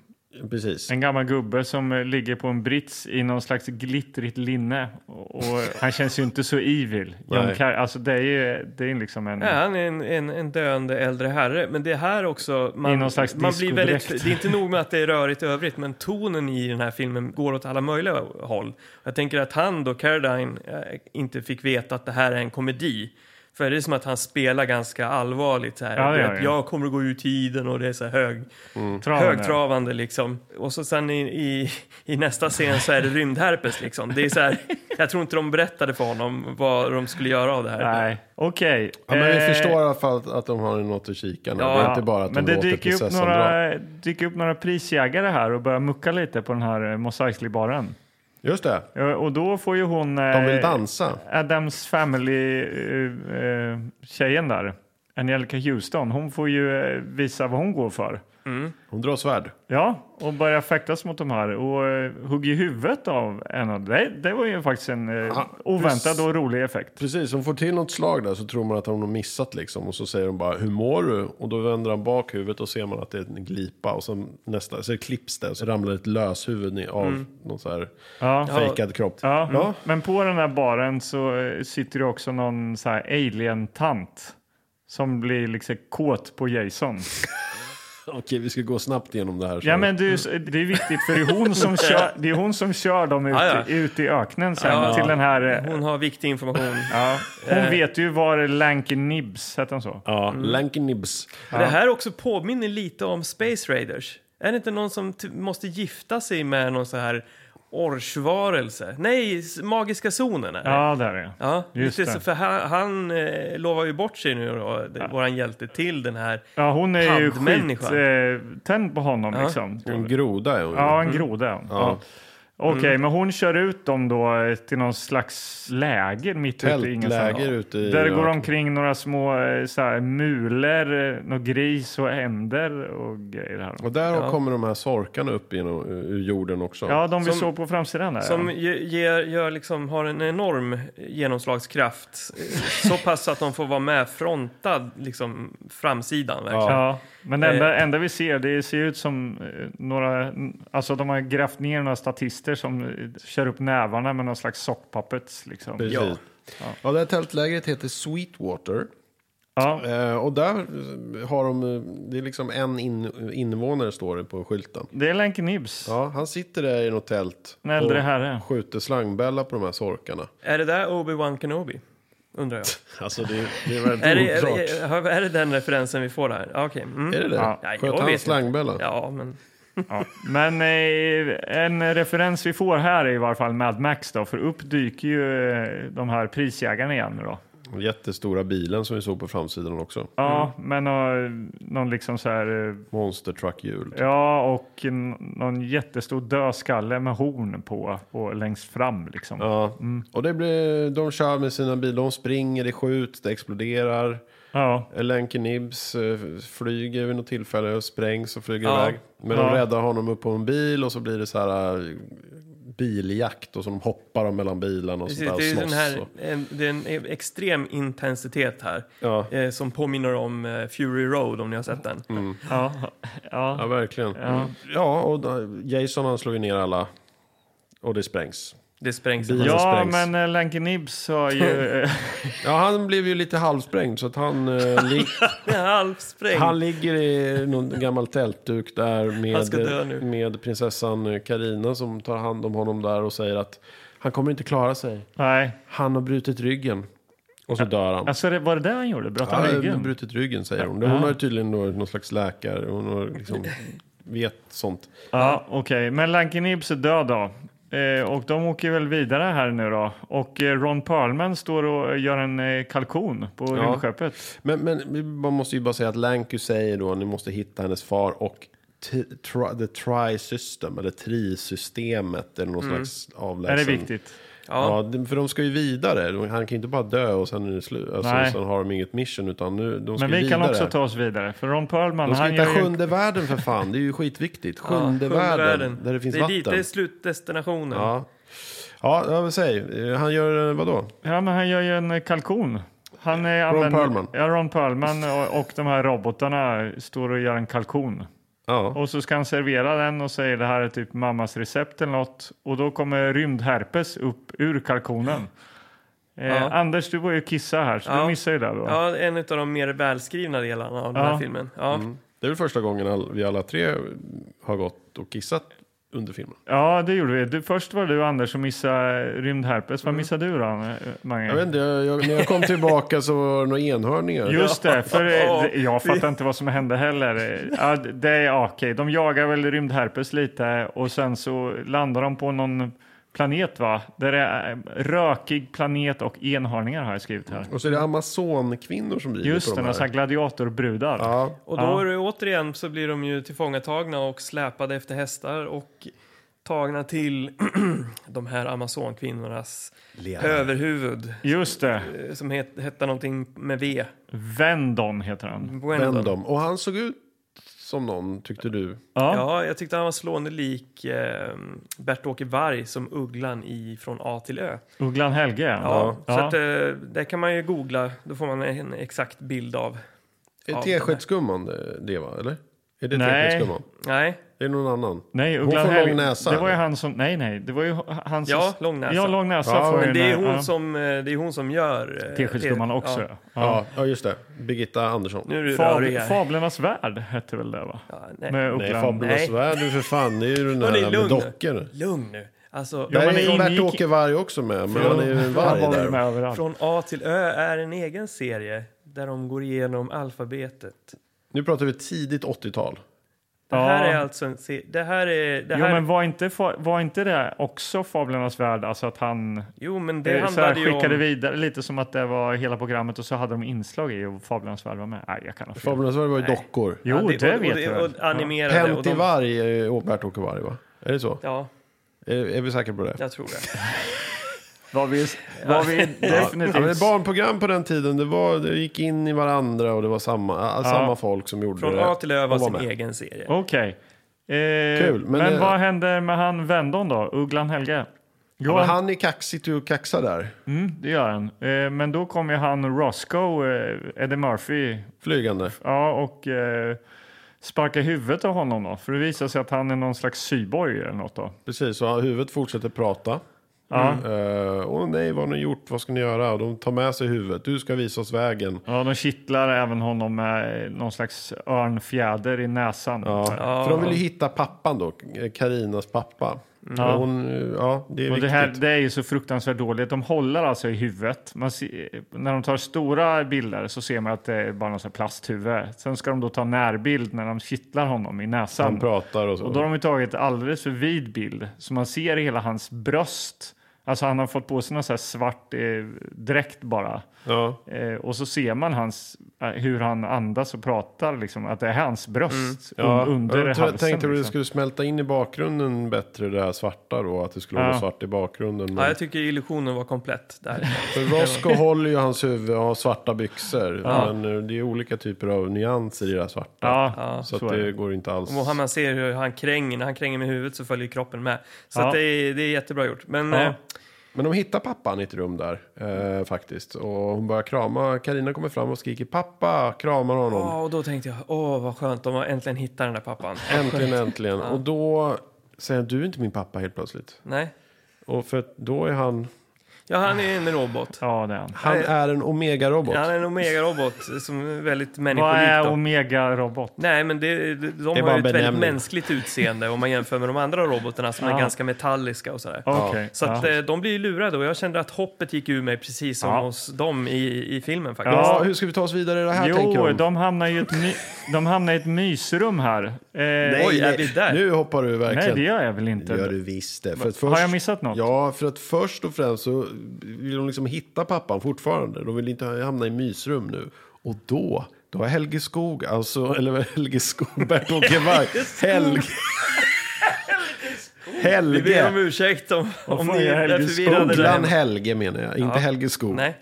Speaker 3: Precis.
Speaker 2: En gammal gubbe som eh, ligger på en brits i någon slags glittrigt linne. Och, och han känns ju inte så evil. John
Speaker 3: Nej.
Speaker 2: Car- alltså det är ju det är liksom en...
Speaker 1: Ja, han är en, en, en döende äldre herre. Men det här också...
Speaker 2: I
Speaker 1: Man,
Speaker 2: någon slags
Speaker 1: man blir väldigt,
Speaker 2: discodräkt.
Speaker 1: det är inte nog med att det är rörigt i övrigt, men tonen i den här filmen går åt alla möjliga håll. Jag tänker att han då, Caradine, eh, inte fick veta att det här är en komedi. För det är som att han spelar ganska allvarligt. Så här.
Speaker 2: Ja, det gör
Speaker 1: att
Speaker 2: han.
Speaker 1: jag kommer att gå ur tiden och det är så här hög,
Speaker 2: travande.
Speaker 1: högtravande liksom. Och så sen i, i, i nästa scen så är det rymdherpes liksom. Det är så här, jag tror inte de berättade för honom vad de skulle göra av det här.
Speaker 2: Nej, okej.
Speaker 3: Ja, men vi
Speaker 2: Eh,
Speaker 3: förstår i alla fall att, att de har något att kika med. det är
Speaker 1: Ja,
Speaker 3: inte bara att de
Speaker 2: men det
Speaker 3: låter
Speaker 2: dyker upp,
Speaker 3: prinsessan dra.
Speaker 2: några, dyker upp några prisjägare här och börjar mucka lite på den här eh, Mos Eisley-baren.
Speaker 3: Just det,
Speaker 2: Ja, Och då får ju hon...
Speaker 3: de
Speaker 2: eh,
Speaker 3: vill dansa.
Speaker 2: Adams Family-tjejen eh, där. Angelica Houston, hon får ju eh, visa vad hon går för.
Speaker 3: Hon drar svärd.
Speaker 2: Ja, och börjar fäktas mot de här och eh, hugger i huvudet av en av dem. Det, det var ju faktiskt en eh, oväntad och rolig effekt.
Speaker 3: Precis, hon får till något slag där så tror man att hon har missat liksom. Och så säger hon bara “Hur mår du?” Och då vänder han bak huvudet och ser man att det är en glipa. Och sen nästa, så klipps det och så ramlar ett löshuvud ner av någon så här
Speaker 2: Mm. Ja.
Speaker 3: fejkad kropp.
Speaker 2: Ja, Men på den här baren så eh, sitter det också någon så här alien-tant som blir liksom kåt på Jason.
Speaker 3: Okej, vi ska gå snabbt igenom det här. så-
Speaker 2: Ja, men det är, ju så- det är viktigt för det är hon som kör, det är hon som kör dem ut,
Speaker 1: Ja, ja.
Speaker 2: ut i öknen sen
Speaker 1: Ja.
Speaker 2: till den här... eh,
Speaker 1: Hon har viktig information.
Speaker 2: Ja, hon vet ju var Lanky Nibs, hette hon så?
Speaker 3: Ja, Lanky Nibs.
Speaker 1: Det här också påminner lite om Space Raiders. Är det inte någon som ty- måste gifta sig med någon så här orchvarelse? Nej, s- magiska zonen är det.
Speaker 2: Ja, där är det.
Speaker 1: Ja,
Speaker 2: Just
Speaker 1: lite
Speaker 2: det.
Speaker 1: så, för han, han eh, lovar ju bort sig nu då, ja. våran hjälte, till den här.
Speaker 2: Ja, hon är ju
Speaker 1: Handmänniska.
Speaker 2: skit, eh, tänd på honom liksom.
Speaker 3: En groda är hon ju.
Speaker 2: Ja, en groda. Ja. Okej, men hon kör ut dem då eh, till någon slags läger mitt ute i ingenstans.
Speaker 3: Tältläger ute i...
Speaker 2: Där går
Speaker 3: ja.
Speaker 2: omkring några små eh, så här, mulor, eh, någon gris och änder och grejer. Här.
Speaker 3: Och där kommer de här sorkarna upp genom, ur jorden också.
Speaker 2: Ja, de vi
Speaker 1: Som-
Speaker 2: såg på framsidan där.
Speaker 1: Som
Speaker 2: ja.
Speaker 1: ge- ger, gör liksom, har en enorm genomslagskraft. eh, Så pass att de får vara med frontad, liksom framsidan. Verkligen.
Speaker 2: Ja, men det enda, enda vi ser, det ser ut som eh, några, n- alltså de har grävt ner några statister som eh, kör upp nävarna med någon slags sockpuppets liksom.
Speaker 3: Precis. Ja. Ja, det här tältlägret heter Sweetwater.
Speaker 2: Ja,
Speaker 3: Eh, och där eh, har de, eh, det är liksom en in, invånare står det på skylten.
Speaker 2: det är Lenke Nibs,
Speaker 3: Ja, han sitter där i något tält
Speaker 2: en äldre
Speaker 3: och
Speaker 2: herre.
Speaker 3: skjuter slangbella på de här sorkarna.
Speaker 1: Är det där Obi-Wan Kenobi? Undrar jag.
Speaker 3: Alltså det, det är väldigt
Speaker 1: Är det, är,
Speaker 3: oklart.
Speaker 1: det- är, är det den referensen vi får där? Ja, Okej. Mm.
Speaker 3: Är det det?
Speaker 2: Ja.
Speaker 1: Nej, jag
Speaker 3: Sköt
Speaker 1: vet
Speaker 3: han
Speaker 1: inte.
Speaker 3: slangbella?
Speaker 1: Ja, men...
Speaker 2: Ja. Men eh, en referens vi får här är i varje fall Mad Max då, för upp dyker ju eh, de här prisjägarna igen nu då.
Speaker 3: Den Jättestora bilen som vi såg på framsidan också.
Speaker 2: Ja,
Speaker 3: Mm.
Speaker 2: men eh, någon liksom så här, eh,
Speaker 3: Monster truck hjul.
Speaker 2: ja och n- någon jättestor dödskalle med horn på och längst fram liksom.
Speaker 3: Ja. Och det blir, de kör med sina bilar, de springer, det skjuts, det exploderar.
Speaker 2: Ja,
Speaker 3: Lenke Nibs eh, flyger vid något tillfälle och sprängs och flyger
Speaker 1: Ja.
Speaker 3: iväg. Men
Speaker 2: Ja.
Speaker 3: de räddar honom upp på en bil och så blir det så här eh, biljakt och så de hoppar de mellan bilarna och
Speaker 1: Precis,
Speaker 3: sånt där och
Speaker 1: det är ju
Speaker 3: slåss.
Speaker 1: den här,
Speaker 3: och-
Speaker 1: en, det är en e- extrem intensitet här
Speaker 3: Ja.
Speaker 1: eh, som påminner om eh, Fury Road om ni har sett
Speaker 3: Mm.
Speaker 1: den.
Speaker 2: ja, ja.
Speaker 3: Ja, verkligen. Ja, och då- Jason han slår ju ner alla och det sprängs.
Speaker 1: Det sprängs.
Speaker 3: Bil-
Speaker 1: Ja.
Speaker 3: som
Speaker 2: Ja,
Speaker 3: sprängs.
Speaker 2: men eh, Lanky Nibs har ju... eh,
Speaker 3: Ja, han blev ju lite halvsprängd så att han, eh, li-
Speaker 1: Halvsprängd.
Speaker 3: han ligger i någon gammal tältduk där
Speaker 1: Han ska dö
Speaker 3: med,
Speaker 1: nu.
Speaker 3: med prinsessan Karina som tar hand om honom där och säger att han kommer inte klara sig.
Speaker 2: nej,
Speaker 3: Han har brutit ryggen. Och så dör han.
Speaker 2: alltså det, var det det han gjorde? Bröt han
Speaker 3: Han har
Speaker 2: ryggen?
Speaker 3: brutit ryggen säger hon. Hon har ju tydligen då någon slags läkare. Hon har liksom vet sånt.
Speaker 2: Ja, okej. Men Lanky Nibs är död då. Eh, och de åker väl vidare här nu då. Och eh, Ron Perlman står och gör en eh, kalkon på rymdskeppet.
Speaker 3: Men, men vi- man måste ju bara säga att Lanky säger då ni måste hitta hennes far och t- tri, the tri system eller tri-systemet eller någon slags avlägsen.
Speaker 2: Är Mm. det viktigt?
Speaker 3: Ja, det- för de ska ju vidare. De- Han kan ju inte bara dö och sen är det slut. Alltså,
Speaker 2: Nej.
Speaker 3: sen har de inget mission utan nu, de ska
Speaker 2: Men
Speaker 3: ju
Speaker 2: vi kan
Speaker 3: vidare.
Speaker 2: också ta oss vidare. För Ron Perlman,
Speaker 3: de ska
Speaker 2: han gör
Speaker 3: hitta
Speaker 2: ju...
Speaker 3: sjunde världen för fan, det är ju skitviktigt.
Speaker 1: Ja,
Speaker 3: Sjunde, världen, där det finns
Speaker 1: det är
Speaker 3: vatten.
Speaker 1: Dit, det är slutdestinationen.
Speaker 3: Ja, ja jag vill säga, eh, han gör eh, vadå?
Speaker 2: Ja, men han gör ju en eh, kalkon. Han är Ron
Speaker 3: Perlman.
Speaker 2: Ja, Ron Perlman och, och de här robotarna står och gör en kalkon.
Speaker 3: Ja,
Speaker 2: Och så ska han servera den och säger det här är typ mammas recept eller något. Och då kommer rymdherpes upp ur kalkonen. Eh,
Speaker 1: Ja.
Speaker 2: Anders, du var ju kissa här så
Speaker 1: Ja.
Speaker 2: du missade ju det då.
Speaker 1: Ja, en av de mer välskrivna delarna av den
Speaker 2: Ja.
Speaker 1: här filmen. Ja.
Speaker 3: det är väl första gången all, vi alla tre har gått och kissat under filmen.
Speaker 2: Ja, det gjorde vi. Du, först var du Anders som missade rymdherpes.
Speaker 1: Mm.
Speaker 2: Vad missade du då, eh, Mange?
Speaker 3: Jag vet inte, jag, jag, när jag kom tillbaka så var det några enhörningar.
Speaker 2: Just det, för eh,
Speaker 1: Ja.
Speaker 2: det- jag fattar inte vad som hände heller. Eh, Ja, d- det är ja, okej, de jagar väl rymdherpes lite och sen så landar de på någon planet va? Där det är eh, rökig planet och enhörningar har jag skrivit här.
Speaker 3: Och så är det amazonkvinnor som rider
Speaker 2: Just
Speaker 3: på
Speaker 2: det,
Speaker 3: de här.
Speaker 2: massa gladiatorbrudar.
Speaker 3: Ja,
Speaker 1: Och då är det åtterigen så blir de ju tillfångatagna och släpade efter hästar och tagna till de här amazonkvinnornas
Speaker 3: Lena.
Speaker 1: överhuvud
Speaker 2: Just det.
Speaker 1: eh, som het, hette någonting med V.
Speaker 2: Vendon heter han.
Speaker 1: Gwendolyn.
Speaker 3: Vänd dem. Och han såg ut som någon, tyckte du.
Speaker 2: Ja.
Speaker 1: Ja, jag tyckte han var slående lik eh, Bert-Åke Varg som ugglan i Från A till Ö.
Speaker 2: Ugglan Helge.
Speaker 1: Ja,
Speaker 2: Ja.
Speaker 1: Så att, eh, det kan man ju googla, då får man en exakt bild av.
Speaker 3: Är
Speaker 1: Ja,
Speaker 3: teskedsgumman det, det va? Eller? Är det
Speaker 2: Nej.
Speaker 3: teskedsgumman?
Speaker 1: Nej,
Speaker 3: Det är någon annan.
Speaker 2: Nej,
Speaker 3: Hon
Speaker 2: Ugglan
Speaker 3: får
Speaker 2: Helge.
Speaker 3: lång näsa,
Speaker 2: Det var ju
Speaker 3: eller?
Speaker 2: han som... Nej, nej. Det var ju han som...
Speaker 1: Ja, lång näsa.
Speaker 2: Ja, lång näsa.
Speaker 3: Ja,
Speaker 2: får
Speaker 3: men
Speaker 2: ju
Speaker 1: det är
Speaker 2: den här-
Speaker 1: hon
Speaker 2: ja.
Speaker 1: som, eh, det är hon som gör... eh,
Speaker 2: Teskedsgumman
Speaker 1: te-
Speaker 2: också.
Speaker 1: Ja.
Speaker 2: Ja.
Speaker 3: Ja, ja just det. Birgitta Andersson.
Speaker 1: Nu är du rörig
Speaker 2: Fab,
Speaker 1: här.
Speaker 2: Fablernas värld hette väl det va?
Speaker 1: Ja, nej.
Speaker 2: Med
Speaker 3: Nej,
Speaker 2: Ugglan.
Speaker 3: Fablernas
Speaker 1: Nej.
Speaker 3: värld nu för fan. Det är ju den
Speaker 1: Hörni,
Speaker 3: där med
Speaker 1: lugn
Speaker 3: dockor.
Speaker 1: nu. Lugn nu. Alltså,
Speaker 2: Ja,
Speaker 3: Där
Speaker 2: men
Speaker 3: är ju
Speaker 2: det ingick-
Speaker 3: Bert-Åke Varg också med, men
Speaker 2: Ja,
Speaker 3: han är ju en varg
Speaker 2: han var väl med
Speaker 3: där.
Speaker 2: överallt.
Speaker 1: Från A till Ö är en egen serie där de går igenom alfabetet.
Speaker 3: Nu pratar vi tidigt 80-tal.
Speaker 1: Det här
Speaker 2: Ja.
Speaker 1: är alltså en serie... Det här är... Det
Speaker 2: Jo,
Speaker 1: här,
Speaker 2: men var inte, fa- var inte det också Fablernas värld? Alltså att han
Speaker 1: jo, men det
Speaker 2: det eh, så här,
Speaker 1: handlade ju om...
Speaker 2: skickade vidare lite som att det var hela programmet och så hade de inslag i och Fablernas värld var med. Nej, jag kan ha fel.
Speaker 3: Fablernas värld var ju dockor.
Speaker 2: Jo,
Speaker 1: Ja,
Speaker 2: det,
Speaker 1: och,
Speaker 2: vet
Speaker 1: och,
Speaker 2: jag
Speaker 1: och,
Speaker 2: väl.
Speaker 1: och animerade. och
Speaker 3: Pent i
Speaker 1: de,
Speaker 3: varg är ju Bert-Åke Varg va? Är det så?
Speaker 1: ja,
Speaker 3: Är, är vi säkra på det?
Speaker 1: jag tror det.
Speaker 2: Var vi, var vi
Speaker 3: Ja, men
Speaker 2: definitivt...
Speaker 3: barnprogram på den tiden, det, var, det gick in i varandra och det var samma, ja. samma folk som gjorde
Speaker 1: Från
Speaker 3: det.
Speaker 1: A till Ö var
Speaker 3: Och var
Speaker 1: sin
Speaker 3: med.
Speaker 1: egen serie.
Speaker 2: Okej. Eh,
Speaker 3: Kul,
Speaker 2: Kul.
Speaker 3: men
Speaker 2: Men,
Speaker 3: det-
Speaker 2: vad händer med han Vendon då? Ugglan Helge? Jo,
Speaker 3: Men han är kaxigt och kaxar där.
Speaker 2: mm, det gör han. Eh, men då kom ju han Roscoe, eh, Eddie Murphy,
Speaker 3: Flygande.
Speaker 2: ja, och eh, sparkar huvudet av honom då. För det visar sig att han är någon slags cyborg eller något då.
Speaker 3: Precis, och huvudet fortsätter prata.
Speaker 2: Ja.
Speaker 3: Eh, Åh nej, vad har ni gjort? Vad ska ni göra? Och de tar med sig huvudet. Du ska visa oss vägen.
Speaker 2: Ja, de kittlar även honom med eh, någon slags örnfjäder i näsan.
Speaker 3: Ja. För de vill ju hitta pappan då, Karinas pappa. Och Hon, eh, ja, det är
Speaker 2: Mm. Och
Speaker 3: viktigt.
Speaker 2: det, här, det är ju så fruktansvärt dåligt. De håller alltså i huvudet. Man ser, när de tar stora bilder så ser man att det är bara någon sån här plasthuvud. Sen ska de då ta närbild när de kittlar honom i
Speaker 3: Han
Speaker 2: näsan.
Speaker 3: pratar och så.
Speaker 2: Och då har de ju tagit alldeles för vid bild så man ser hela hans bröst. Alltså han har fått på sig någon sån här svart eh, dräkt bara.
Speaker 3: ja.
Speaker 2: Eh, och så ser man hans, eh, hur han andas och pratar, liksom, att det är hans bröst un-
Speaker 3: Ja,
Speaker 2: under
Speaker 3: jag tror-
Speaker 2: halsen.
Speaker 3: tänkte att det
Speaker 2: liksom.
Speaker 3: skulle smälta in i bakgrunden bättre det här svarta då, att det skulle vara
Speaker 2: Ja.
Speaker 3: svart i bakgrunden.
Speaker 1: Ja,
Speaker 3: Men
Speaker 1: jag tycker illusionen var komplett där.
Speaker 3: för Roscoe håller ju hans huvud och har svarta byxor. Men eh, det är olika typer av nyanser i det här svarta.
Speaker 2: Ja,
Speaker 3: så
Speaker 2: så
Speaker 3: att
Speaker 2: är
Speaker 3: det
Speaker 2: det.
Speaker 3: går inte alls.
Speaker 1: Och han, man ser hur han kränger, när han kränger med huvudet så följer kroppen med. Så
Speaker 2: Ja.
Speaker 1: att det, är, det är jättebra gjort. Men
Speaker 2: Ja.
Speaker 1: eh,
Speaker 3: Men de hittar pappan i ett rum där eh, faktiskt. Och hon börjar krama. Karina kommer fram och skriker pappa, kramar honom.
Speaker 1: ja, och då tänkte jag, åh vad skönt, de har äntligen hittat den där pappan.
Speaker 3: Äntligen, äntligen. Och då säger han, du är inte min pappa helt plötsligt.
Speaker 1: Nej,
Speaker 3: Och för att då är han,
Speaker 1: ja han är en robot.
Speaker 2: Ja, det är han.
Speaker 3: han
Speaker 1: Nej.
Speaker 3: är en omega-robot.
Speaker 1: Han är en omega-robot som är väldigt
Speaker 2: Vad
Speaker 1: människolik.
Speaker 2: är
Speaker 1: då.
Speaker 2: Omega-robot?
Speaker 1: Nej, men det, de, de
Speaker 3: bara
Speaker 1: har
Speaker 3: en
Speaker 1: ju ett väldigt
Speaker 3: benämning.
Speaker 1: mänskligt utseende om man jämför med de andra robotarna som är
Speaker 2: Ja.
Speaker 1: ganska metalliska och sådär.
Speaker 2: Okej.
Speaker 1: Så att,
Speaker 2: ja.
Speaker 1: eh, de blir ju lurade och jag kände att hoppet gick ur mig precis som
Speaker 2: Ja.
Speaker 1: hos dem i, i filmen faktiskt.
Speaker 3: Ja,
Speaker 2: Ja.
Speaker 3: hur ska vi ta oss vidare i det här tänker
Speaker 2: Jo,
Speaker 3: de.
Speaker 2: de hamnar ju i ett, my- de hamnar i ett mysrum här. Eh, nej,
Speaker 1: Oj, är vi där?
Speaker 3: Nu hoppar du verkligen.
Speaker 2: det gör jag väl inte.
Speaker 3: Det gör du visst det. För att först,
Speaker 2: Har jag missat något?
Speaker 3: Ja, för att först och främst så vill de liksom hitta pappan fortfarande. De vill inte hamna i mysrum nu. Och då, då har Helge Skog, alltså, eller Helge Skog, Bert-Åke Varg. Helge.
Speaker 1: Vi ber om
Speaker 3: Helge.
Speaker 1: ursäkt om, om
Speaker 2: fan
Speaker 1: ni
Speaker 2: är
Speaker 1: är
Speaker 2: Helge
Speaker 1: förvirrade där
Speaker 3: Ugglan
Speaker 1: hemma.
Speaker 3: Helge menar jag, inte Helge Skog.
Speaker 1: Nej,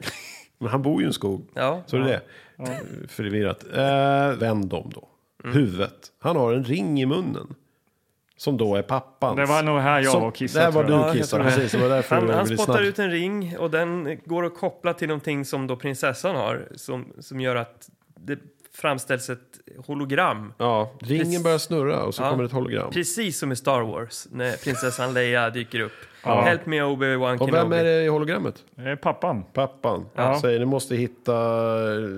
Speaker 3: Men han bor ju i en skog.
Speaker 1: ja. Mm.
Speaker 3: Så är det det. Förvirrat. Eh, vänd dem då. Huvudet. Han har en ring i munnen. Som då är pappans.
Speaker 2: Det var nog här jag
Speaker 3: Som-
Speaker 2: var och kissade,
Speaker 3: Där var
Speaker 2: tror jag.
Speaker 1: Ja,
Speaker 3: du
Speaker 1: jag
Speaker 3: kissade,
Speaker 1: tror det.
Speaker 3: precis. Det var därför
Speaker 1: Han,
Speaker 3: du
Speaker 1: han
Speaker 3: ville
Speaker 1: spottar
Speaker 3: snabbt-
Speaker 1: ut en ring och den går att koppla till någonting som då prinsessan har som, som gör att det framställs ett hologram.
Speaker 3: Ja, ringen
Speaker 1: Precis.
Speaker 3: börjar snurra och så
Speaker 1: Ja.
Speaker 3: kommer ett hologram.
Speaker 1: Precis som i Star Wars när prinsessan Leia dyker upp. Help me Obi-Wan
Speaker 3: Och vem är
Speaker 1: Kenobi.
Speaker 3: det i hologrammet?
Speaker 2: Eh, pappan.
Speaker 3: Pappan. Säger ni måste hitta,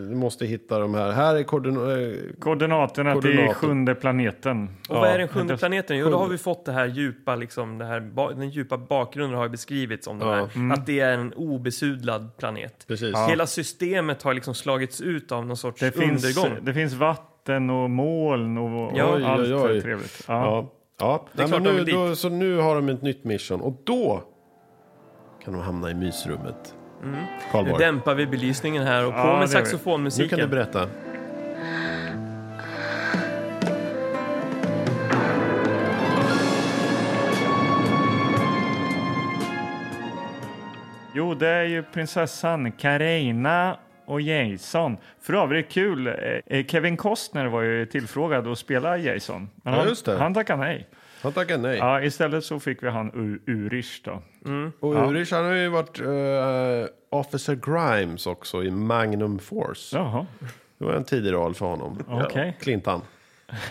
Speaker 3: ni måste hitta de här. Här är eh, koordinaterna.
Speaker 2: Koordinaterna
Speaker 3: Koordinater.
Speaker 2: till sjunde planeten.
Speaker 1: Och vad är den sjunde planeten? Jo, då har vi fått det här djupa, liksom, det här, ba- den djupa bakgrunden har ju beskrivits om den
Speaker 3: Ja. Mm.
Speaker 1: här. Att det är en obesudlad planet.
Speaker 3: Precis.
Speaker 1: Hela systemet har liksom slagits ut av någon sorts
Speaker 2: Det finns,
Speaker 1: undergång.
Speaker 2: det finns vatten och moln och, och
Speaker 1: Ja.
Speaker 2: allt
Speaker 3: Oj, oj, oj.
Speaker 2: är trevligt. Ja.
Speaker 3: Ja. ja.
Speaker 1: är
Speaker 3: Nej, men
Speaker 1: klart de
Speaker 3: nu,
Speaker 1: vill dit.
Speaker 3: då, så nu har de ett nytt mission. Och då kan de hamna i mysrummet.
Speaker 1: Nu
Speaker 3: Karlborg,
Speaker 1: dämpar vi belysningen här och på
Speaker 2: Ja, det gör
Speaker 1: med
Speaker 2: vi.
Speaker 3: nu kan
Speaker 1: saxofonmusiken.
Speaker 3: du berätta.
Speaker 2: Jo, det är ju prinsessan Karina och Jason. För övrigt kul, eh, Kevin Costner var ju tillfrågad att spela Jason. Men
Speaker 3: Ja,
Speaker 2: han-
Speaker 3: just det.
Speaker 2: Han tackade nej.
Speaker 3: Han tackar nej.
Speaker 2: Ja, istället så fick vi han U- Urish då.
Speaker 3: Och Ulrich han har ju varit eh, Officer Grimes också i Magnum Force.
Speaker 2: Jaha,
Speaker 3: Det var en tidig roll för honom.
Speaker 2: Okej.
Speaker 3: Clintan.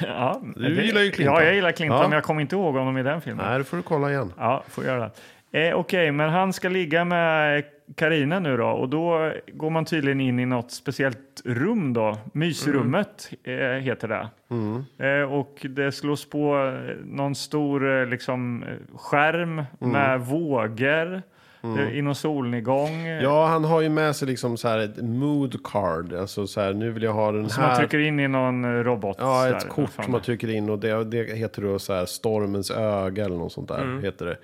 Speaker 2: ja.
Speaker 3: Du gillar ju Clinton.
Speaker 2: Ja, jag gillar Clinton,
Speaker 3: Ja.
Speaker 2: men jag kommer inte ihåg honom i den filmen.
Speaker 3: Nej, det får du kolla igen.
Speaker 2: Ja, får göra det. Eh, Okej, men han ska ligga med Karina nu då och då går man tydligen in i något speciellt rum då. Mysrummet
Speaker 3: Mm.
Speaker 2: eh, heter det. Eh, och det slås på eh, någon stor eh, liksom, eh, skärm
Speaker 3: Mm.
Speaker 2: med vågor eh, i någon solnedgång. eh,
Speaker 3: Ja, han har ju med sig liksom så här ett mood card. Alltså så här, nu vill jag ha den
Speaker 2: Som
Speaker 3: här.
Speaker 2: man trycker in i någon eh, robot.
Speaker 3: Ja,
Speaker 2: där,
Speaker 3: ett kort
Speaker 2: fan.
Speaker 3: som man trycker in och det, det heter då så här stormens öga eller något sånt där.
Speaker 2: Mm.
Speaker 3: Heter det.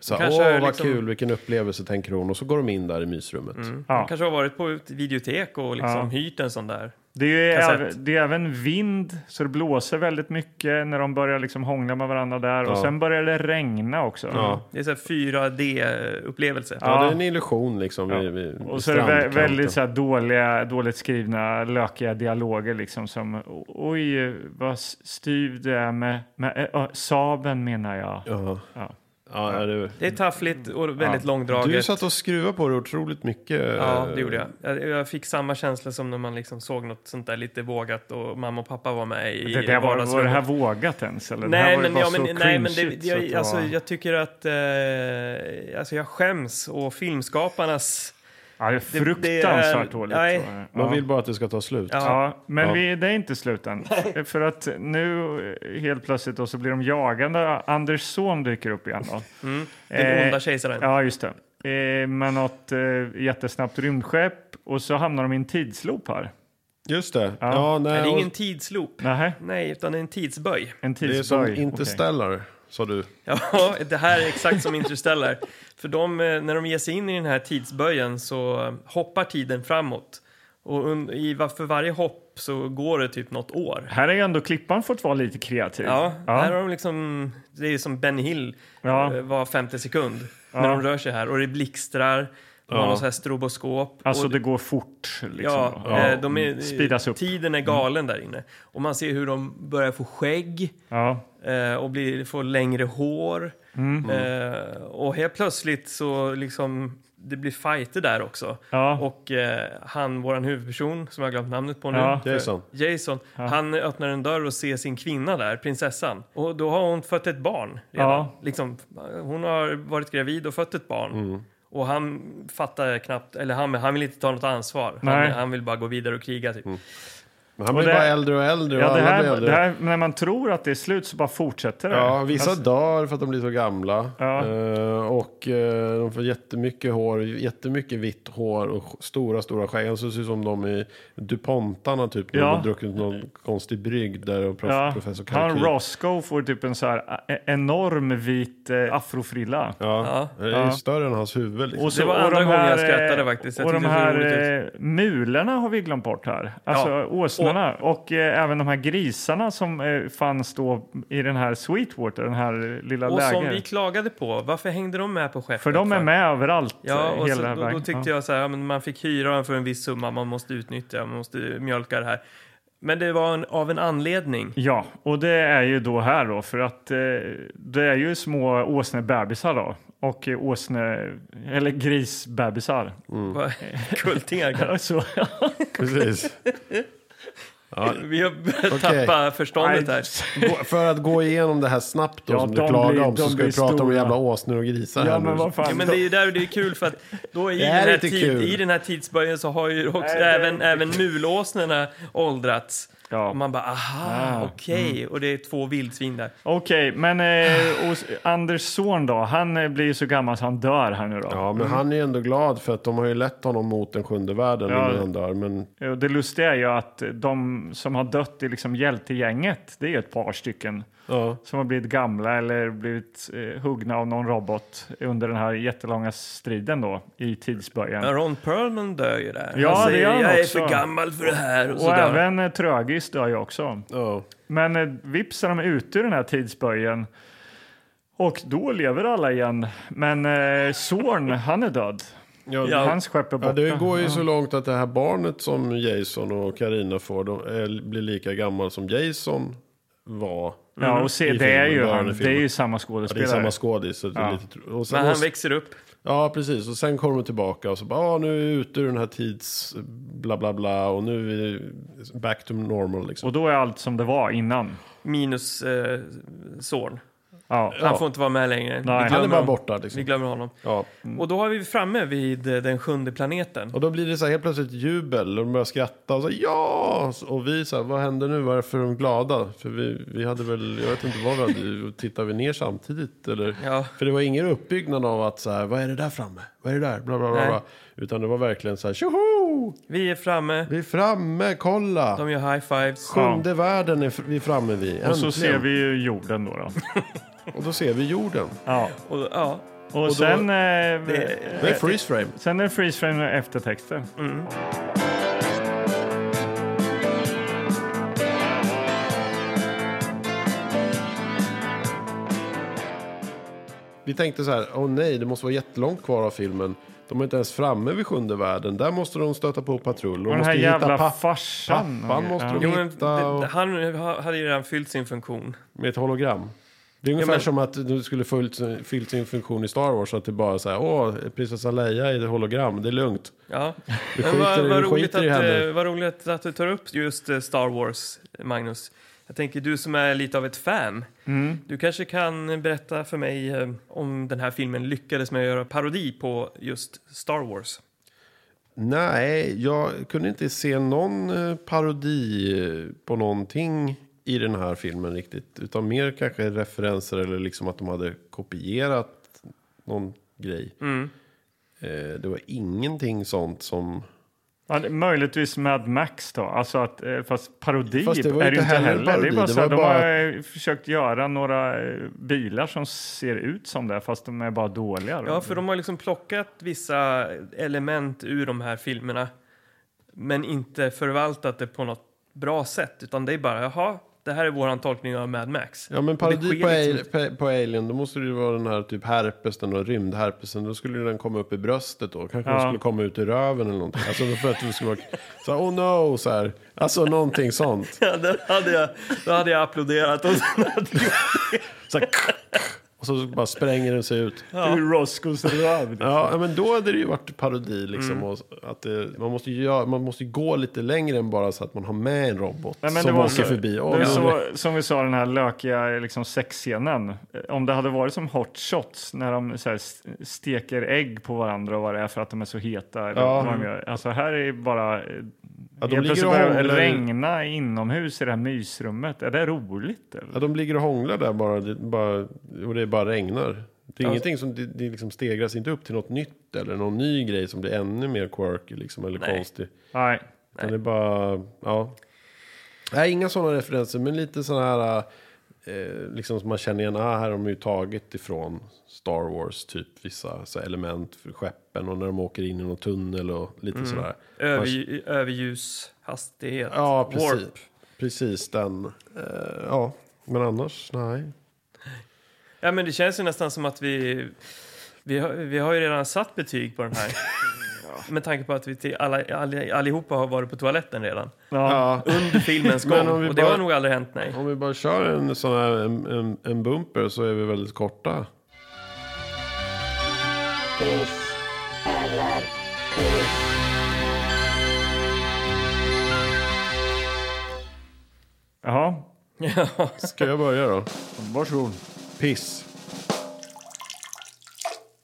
Speaker 3: Så här,
Speaker 1: Kanske
Speaker 3: åh vad
Speaker 1: liksom-
Speaker 3: kul, vilken upplevelse tänker hon. Och så går de in där i mysrummet.
Speaker 2: Ja.
Speaker 1: Kanske har varit på ett videotek och liksom hyrt en sån där.
Speaker 2: Det är,
Speaker 1: Kassett.
Speaker 2: även, det är även vind, så det blåser väldigt mycket när de börjar liksom hångla med varandra där. Och sen börjar det regna också.
Speaker 1: Det är så här 4D-upplevelse.
Speaker 3: Ja, det är en illusion liksom. Vid, vid,
Speaker 2: Och
Speaker 3: vid
Speaker 2: så är det vä-
Speaker 3: strandkanten.
Speaker 2: väldigt så här dåliga, dåligt skrivna, lökiga dialoger liksom som oj vad styv det är med, med ö, ö, Saben menar jag.
Speaker 3: Ja.
Speaker 2: Ja.
Speaker 3: Ja, är det...
Speaker 1: Det är taffligt och väldigt
Speaker 3: Du
Speaker 1: långdraget.
Speaker 3: satt eh, och skruvade på det otroligt mycket.
Speaker 1: Ja, det gjorde jag. jag. Jag fick samma känsla som när man liksom såg något sånt där lite vågat och mamma och pappa var med i
Speaker 2: Det, det var, var det
Speaker 1: vardagsrummet.
Speaker 2: här vågat ens? Eller? det här
Speaker 1: Nej
Speaker 2: var ju
Speaker 1: men,
Speaker 2: bara
Speaker 1: ja,
Speaker 2: så
Speaker 1: men, nej, men det,
Speaker 2: cringeigt så att
Speaker 1: jag,
Speaker 2: det
Speaker 1: alltså,
Speaker 2: var-
Speaker 1: jag tycker att eh, alltså, jag skäms och filmskaparnas...
Speaker 2: ja, det är
Speaker 1: det är-
Speaker 2: fruktansvärt dåligt.
Speaker 1: nej.
Speaker 2: tror jag.
Speaker 3: Man
Speaker 2: Ja.
Speaker 3: vill bara att det ska ta slut.
Speaker 2: Ja, men Vi, det är inte slut än. För att nu eh, helt plötsligt då, så blir de jagande. Anders son dyker upp igen. Då.
Speaker 1: Mm. Den
Speaker 2: Eh,
Speaker 1: onda kejsaren.
Speaker 2: Ja, just det. Eh, med något eh, jättesnabbt rymdskepp och så hamnar de i en tidsloop här.
Speaker 3: Just det. Ja. nej,
Speaker 1: det är
Speaker 3: och-
Speaker 1: ingen tidsloop.
Speaker 2: Nähä,
Speaker 1: Nej, utan det är en tidsböj.
Speaker 2: en
Speaker 3: det är
Speaker 2: tidsböj.
Speaker 3: som
Speaker 2: Okej.
Speaker 3: Interstellar, sa du.
Speaker 1: Ja, det här är exakt som Interstellar. För de, eh, när de ger sig in i den här tidsböjen så eh, hoppar tiden framåt. Och un- i, va- för varje hopp så går det typ något år.
Speaker 2: Här är ju ändå klippan fått vara lite kreativ.
Speaker 1: Ja, här har de liksom, det är som Ben Hill
Speaker 2: Ja.
Speaker 1: eh, var femte sekund när de rör sig här. Och det blixtrar, man har så här stroboskop.
Speaker 2: Alltså
Speaker 1: och,
Speaker 2: det går fort. Liksom. Mm,
Speaker 1: ja, eh, de är,
Speaker 2: Speedas upp. Mm.
Speaker 1: Tiden är galen där inne. Och man ser hur de börjar få skägg.
Speaker 2: Ja.
Speaker 1: eh, och blir, får längre hår.
Speaker 2: Mm.
Speaker 1: Eh, och helt plötsligt så liksom, det blir fighter där också.
Speaker 2: Ja.
Speaker 1: Och eh, han, våran huvudperson, som jag har glömt namnet på nu.
Speaker 2: Ja.
Speaker 1: för-
Speaker 3: Jason.
Speaker 1: Jason, han öppnar en dörr och ser sin kvinna där, prinsessan. Och då har hon fött ett barn redan.
Speaker 2: Ja.
Speaker 1: Liksom, hon har varit gravid och fött ett barn. Och han fattar knappt, eller han, han vill inte ta något ansvar. Han,
Speaker 2: Nej.
Speaker 1: han vill bara gå vidare och kriga typ.
Speaker 3: Men han
Speaker 2: Och
Speaker 3: blir
Speaker 2: det-
Speaker 3: bara äldre och äldre.
Speaker 2: Ja,
Speaker 3: och
Speaker 2: det,
Speaker 3: alla blir
Speaker 2: här,
Speaker 3: äldre.
Speaker 2: det här, när man tror att det är slut så bara fortsätter det.
Speaker 3: Ja, vissa
Speaker 2: Alltså,
Speaker 3: dör för att de blir så gamla.
Speaker 2: Ja.
Speaker 3: Eh, och eh, de får jättemycket hår, jättemycket vitt hår och sk- stora, stora skägg. Alltså, Det ser ut som de i DuPontarna typ. När
Speaker 2: Ja.
Speaker 3: de har druckit någon konstig brygd där och prof,
Speaker 2: Alltså, ja,
Speaker 3: professor Kalkyl.
Speaker 2: han Roscoe får typ en så här eh, enorm vit eh, afrofrilla.
Speaker 3: Ja. Det är större än hans huvud. Liksom.
Speaker 2: Och
Speaker 1: Det var andra
Speaker 2: de
Speaker 1: gången jag
Speaker 2: här,
Speaker 1: skrattade
Speaker 2: eh,
Speaker 1: faktiskt. Jag
Speaker 2: Och de
Speaker 1: tyckte det såg
Speaker 2: här
Speaker 1: roligt
Speaker 2: eh, mularna har vi glömt bort här. Alltså
Speaker 1: Ja.
Speaker 2: åsnorna. Och, eh, även de här grisarna som eh, fanns då i den här Sweetwater, den här lilla
Speaker 1: Och som vi
Speaker 2: lägret.
Speaker 1: klagade på, varför hängde de med på skeppet?
Speaker 2: För de är med överallt.
Speaker 1: Ja,
Speaker 2: eh,
Speaker 1: och
Speaker 2: hela
Speaker 1: så, då, då
Speaker 2: vägen.
Speaker 1: tyckte jag så här, ja, men man fick hyra den för en viss summa, man måste utnyttja, man måste mjölka det här. Men det var en, av en anledning.
Speaker 2: Ja, och det är ju då här då, för att eh, det är ju små åsnebebisar då. Och eh, åsne, eller grisbebisar.
Speaker 1: Kultingar kanske.
Speaker 2: Så,
Speaker 3: Precis.
Speaker 1: Vi har börjat
Speaker 3: Okej.
Speaker 1: tappa förståndet här.
Speaker 3: Gå- För att gå igenom det här snabbt då,
Speaker 2: Ja,
Speaker 3: som du
Speaker 2: de
Speaker 3: klagar
Speaker 2: blir-
Speaker 3: om, så
Speaker 2: de
Speaker 3: ska vi
Speaker 2: blir
Speaker 3: prata om
Speaker 2: stora.
Speaker 3: jävla åsnor och grisar
Speaker 2: ja,
Speaker 3: här
Speaker 2: men
Speaker 3: nu.
Speaker 2: vad
Speaker 1: Ja,
Speaker 2: fan.
Speaker 1: men det är ju där det är kul för att då i,
Speaker 3: Det
Speaker 1: den
Speaker 3: här är
Speaker 1: här,
Speaker 3: inte
Speaker 1: tid,
Speaker 3: kul.
Speaker 1: i den här tidsböjen så har ju också
Speaker 2: det är
Speaker 1: även, även mulåsnorna åldrats.
Speaker 2: Ja. Ah, mm.
Speaker 1: Och man bara aha, okej. Och det är två vildsvin där.
Speaker 2: Okej, men eh, och Anders son då, han eh, blir ju så gammal så han dör här nu då.
Speaker 3: Ja, men han är ju ändå glad för att de har ju lett honom mot den sjunde världen
Speaker 2: Ja.
Speaker 3: innan han dör. Men
Speaker 2: Och det lustiga är ju att de som har dött i liksom hjältegänget, det är ju ett par stycken
Speaker 3: ja,
Speaker 2: som har blivit gamla eller blivit eh, huggna av någon robot under den här jättelånga striden då i tidsböjen.
Speaker 1: Ja, Ron Perlman dör ju där.
Speaker 2: Ja,
Speaker 1: han
Speaker 2: det
Speaker 1: säger
Speaker 2: gör han
Speaker 1: jag är
Speaker 2: också.
Speaker 1: för gammal för det här. Och, så
Speaker 2: och
Speaker 1: dör han.
Speaker 2: även eh, Trögis dör ju också.
Speaker 3: ja.
Speaker 2: Men eh, vips är de ute ur den här tidsböjen och då lever alla igen. Men eh, Zorn, han är död.
Speaker 3: Ja,
Speaker 1: Ja.
Speaker 2: Hans skepp är
Speaker 3: Ja,
Speaker 2: borta.
Speaker 3: det går ju så långt att det här barnet som Jason och Karina får de är, blir lika gammal som Jason var.
Speaker 2: Ja, och se,
Speaker 3: Mm. i
Speaker 2: det, är
Speaker 3: filmen,
Speaker 2: ju
Speaker 3: början
Speaker 2: han,
Speaker 3: i
Speaker 2: det
Speaker 3: filmen.
Speaker 2: är ju samma
Speaker 3: Ja, det är
Speaker 2: skådespelare.
Speaker 3: samma skådis. så det är
Speaker 2: Ja.
Speaker 3: lite tro- och sen-
Speaker 1: Men han
Speaker 3: och-
Speaker 1: växer upp.
Speaker 3: Ja, precis. Och sen kommer de tillbaka och så bara, ah, nu är vi ute ur den här tids bla bla bla och nu är vi back to normal liksom.
Speaker 2: och då är allt som det var innan.
Speaker 1: Minus eh, son.
Speaker 2: Ja.
Speaker 1: Han får inte vara med längre.
Speaker 2: Nej. Han är
Speaker 3: Han är bara
Speaker 1: honom.
Speaker 3: borta
Speaker 1: Vi
Speaker 3: liksom.
Speaker 1: glömmer honom.
Speaker 3: Ja.
Speaker 1: Och då har vi framme vid eh, den sjunde planeten.
Speaker 3: Och då blir det så här helt plötsligt jubel och de börjar skratta och så ja! Och vi så här, vad händer nu? Varför är de glada? För vi, vi hade väl, jag vet inte vad vi hade, tittar vi ner samtidigt eller?
Speaker 1: Ja.
Speaker 3: För det var ingen uppbyggnad av att så här, vad är det där framme? Vad är det där? Bla bla bla.
Speaker 1: Nej.
Speaker 3: bla. Utan det var verkligen så här, tjoho!
Speaker 1: Vi är framme,
Speaker 3: Vi är framme, kolla!
Speaker 1: de gör high fives.
Speaker 3: Sjunde världen är fr- vi är framme vid, äntligen.
Speaker 2: Och så ser vi ju jorden då. då.
Speaker 3: och då ser vi jorden.
Speaker 2: Ja.
Speaker 1: Och, ja.
Speaker 2: Och, sen, eh,
Speaker 3: Det är freeze frame.
Speaker 2: sen är det freeze frame med eftertexter.
Speaker 3: Vi tänkte så här, åh nej, det måste vara jättelångt kvar av filmen. De är inte ens framme vid sjunde världen. Där måste de stöta på patrull. De
Speaker 2: Och den
Speaker 3: måste
Speaker 2: här
Speaker 3: hitta
Speaker 2: jävla
Speaker 3: pappa.
Speaker 2: farsan.
Speaker 3: pappan måste de-
Speaker 1: Jo, men,
Speaker 3: Hitta
Speaker 1: det-
Speaker 3: och-
Speaker 1: han hade ju redan fyllt sin funktion.
Speaker 3: Med ett hologram. Det är ungefär
Speaker 1: men-
Speaker 3: som att du skulle fyllt, fyllt sin funktion i Star Wars. Att det bara så här, åh, prinsessa Leia är ett hologram, det är lugnt.
Speaker 1: Ja.
Speaker 3: Vi
Speaker 1: Men vad,
Speaker 3: skiter,
Speaker 1: vad,
Speaker 3: vi
Speaker 1: roligt
Speaker 3: skiter
Speaker 1: att,
Speaker 3: i henne.
Speaker 1: eh, vad roligt att du tar upp just eh, Star Wars, Magnus. Jag tänker, du som är lite av ett fan,
Speaker 3: Mm.
Speaker 1: du kanske kan berätta för mig eh, om den här filmen lyckades med att göra parodi på just Star Wars.
Speaker 3: Nej, jag kunde inte se någon eh, parodi eh, på någonting i den här filmen riktigt. Utan mer kanske referenser eller liksom att de hade kopierat någon grej. Eh, Det var ingenting sånt som...
Speaker 2: Ja, det- möjligtvis Mad Max då. Alltså att, eh, fast parodi
Speaker 3: Fast det var
Speaker 2: är
Speaker 3: ju
Speaker 2: det ju
Speaker 3: inte
Speaker 2: inte heller.
Speaker 3: heller
Speaker 2: Det är
Speaker 3: parodi,
Speaker 2: bara
Speaker 3: det
Speaker 2: så här,
Speaker 3: var
Speaker 2: de
Speaker 3: bara-
Speaker 2: har eh, försökt göra några eh, bilar som ser ut som det, fast de är bara dåliga. Då.
Speaker 1: Ja, för de har liksom plockat vissa element ur de här filmerna men inte förvaltat det på något bra sätt, utan det är bara, jaha, det här är vår tolkning av Mad Max.
Speaker 3: Ja men
Speaker 1: Och det
Speaker 3: parodi
Speaker 1: sker
Speaker 3: på,
Speaker 1: liksom
Speaker 3: al- på, på Alien, då måste det ju vara den här typ herpesen och rymdherpesen. Då skulle ju den komma upp i bröstet då. Kanske
Speaker 2: Ja.
Speaker 3: den skulle komma ut i röven eller någonting. Alltså för att det skulle vara så här, oh no, så här. Alltså någonting sånt.
Speaker 1: Ja, då hade jag, då hade jag applåderat. Och sen hade jag...
Speaker 3: Så här, och så bara spränger den sig ut.
Speaker 2: Ur Roscos röv.
Speaker 3: Ja, ja, men då hade det ju varit parodi liksom.
Speaker 2: Mm.
Speaker 3: Och att det, man, måste ju göra, man måste ju gå lite längre än bara så att man har med en robot
Speaker 2: Nej, men
Speaker 3: som
Speaker 2: det var
Speaker 3: åker
Speaker 2: så-
Speaker 3: förbi.
Speaker 2: det
Speaker 3: Oh,
Speaker 2: är så, som vi sa, den här lökiga liksom, sexscenen. Eh, Om det hade varit som hot shots när de så här, s- steker ägg på varandra och vad det är för att de är så heta. Eller
Speaker 3: Ja.
Speaker 2: vad de gör. Alltså här är bara... eh,
Speaker 3: Ja, de
Speaker 2: helt
Speaker 3: ligger
Speaker 2: plötsligt
Speaker 3: och
Speaker 2: börjar det
Speaker 3: hånglar i-
Speaker 2: regna inomhus i det här mysrummet. Är det roligt? Eller?
Speaker 3: Ja, de ligger och hånglar där bara, det, bara och det bara regnar. Det är ingenting som, det, det liksom stegras inte upp till något nytt eller någon ny grej som blir ännu mer quirky liksom, eller
Speaker 1: Nej.
Speaker 3: konstig.
Speaker 2: Nej.
Speaker 3: Utan det är bara, ja. Nej, inga sådana referenser, men lite sådana här, eh, liksom som man känner igen, ah, här har de ju tagit ifrån Star Wars, typ vissa så här, element för skeppen och när de åker in i någon tunnel och lite
Speaker 2: Mm.
Speaker 3: sådär.
Speaker 1: Över, överljus, hastighet,
Speaker 3: Ja, precis.
Speaker 1: warp.
Speaker 3: Precis den, eh, ja. Men annars, nej.
Speaker 1: Ja, men det känns ju nästan som att vi... Vi har, vi har ju redan satt betyg på den här. Med tanke på att vi till alla, all, allihopa har varit på toaletten redan.
Speaker 3: Ja.
Speaker 1: Under filmens
Speaker 3: Men
Speaker 1: gång.
Speaker 3: om vi
Speaker 1: Och det
Speaker 3: bara-
Speaker 1: har nog aldrig hänt, nej.
Speaker 3: Om vi bara kör en sån här en, en, en bumper så är vi väldigt korta.
Speaker 2: Jaha.
Speaker 3: Ska jag börja då?
Speaker 2: Varsågod.
Speaker 3: Piss.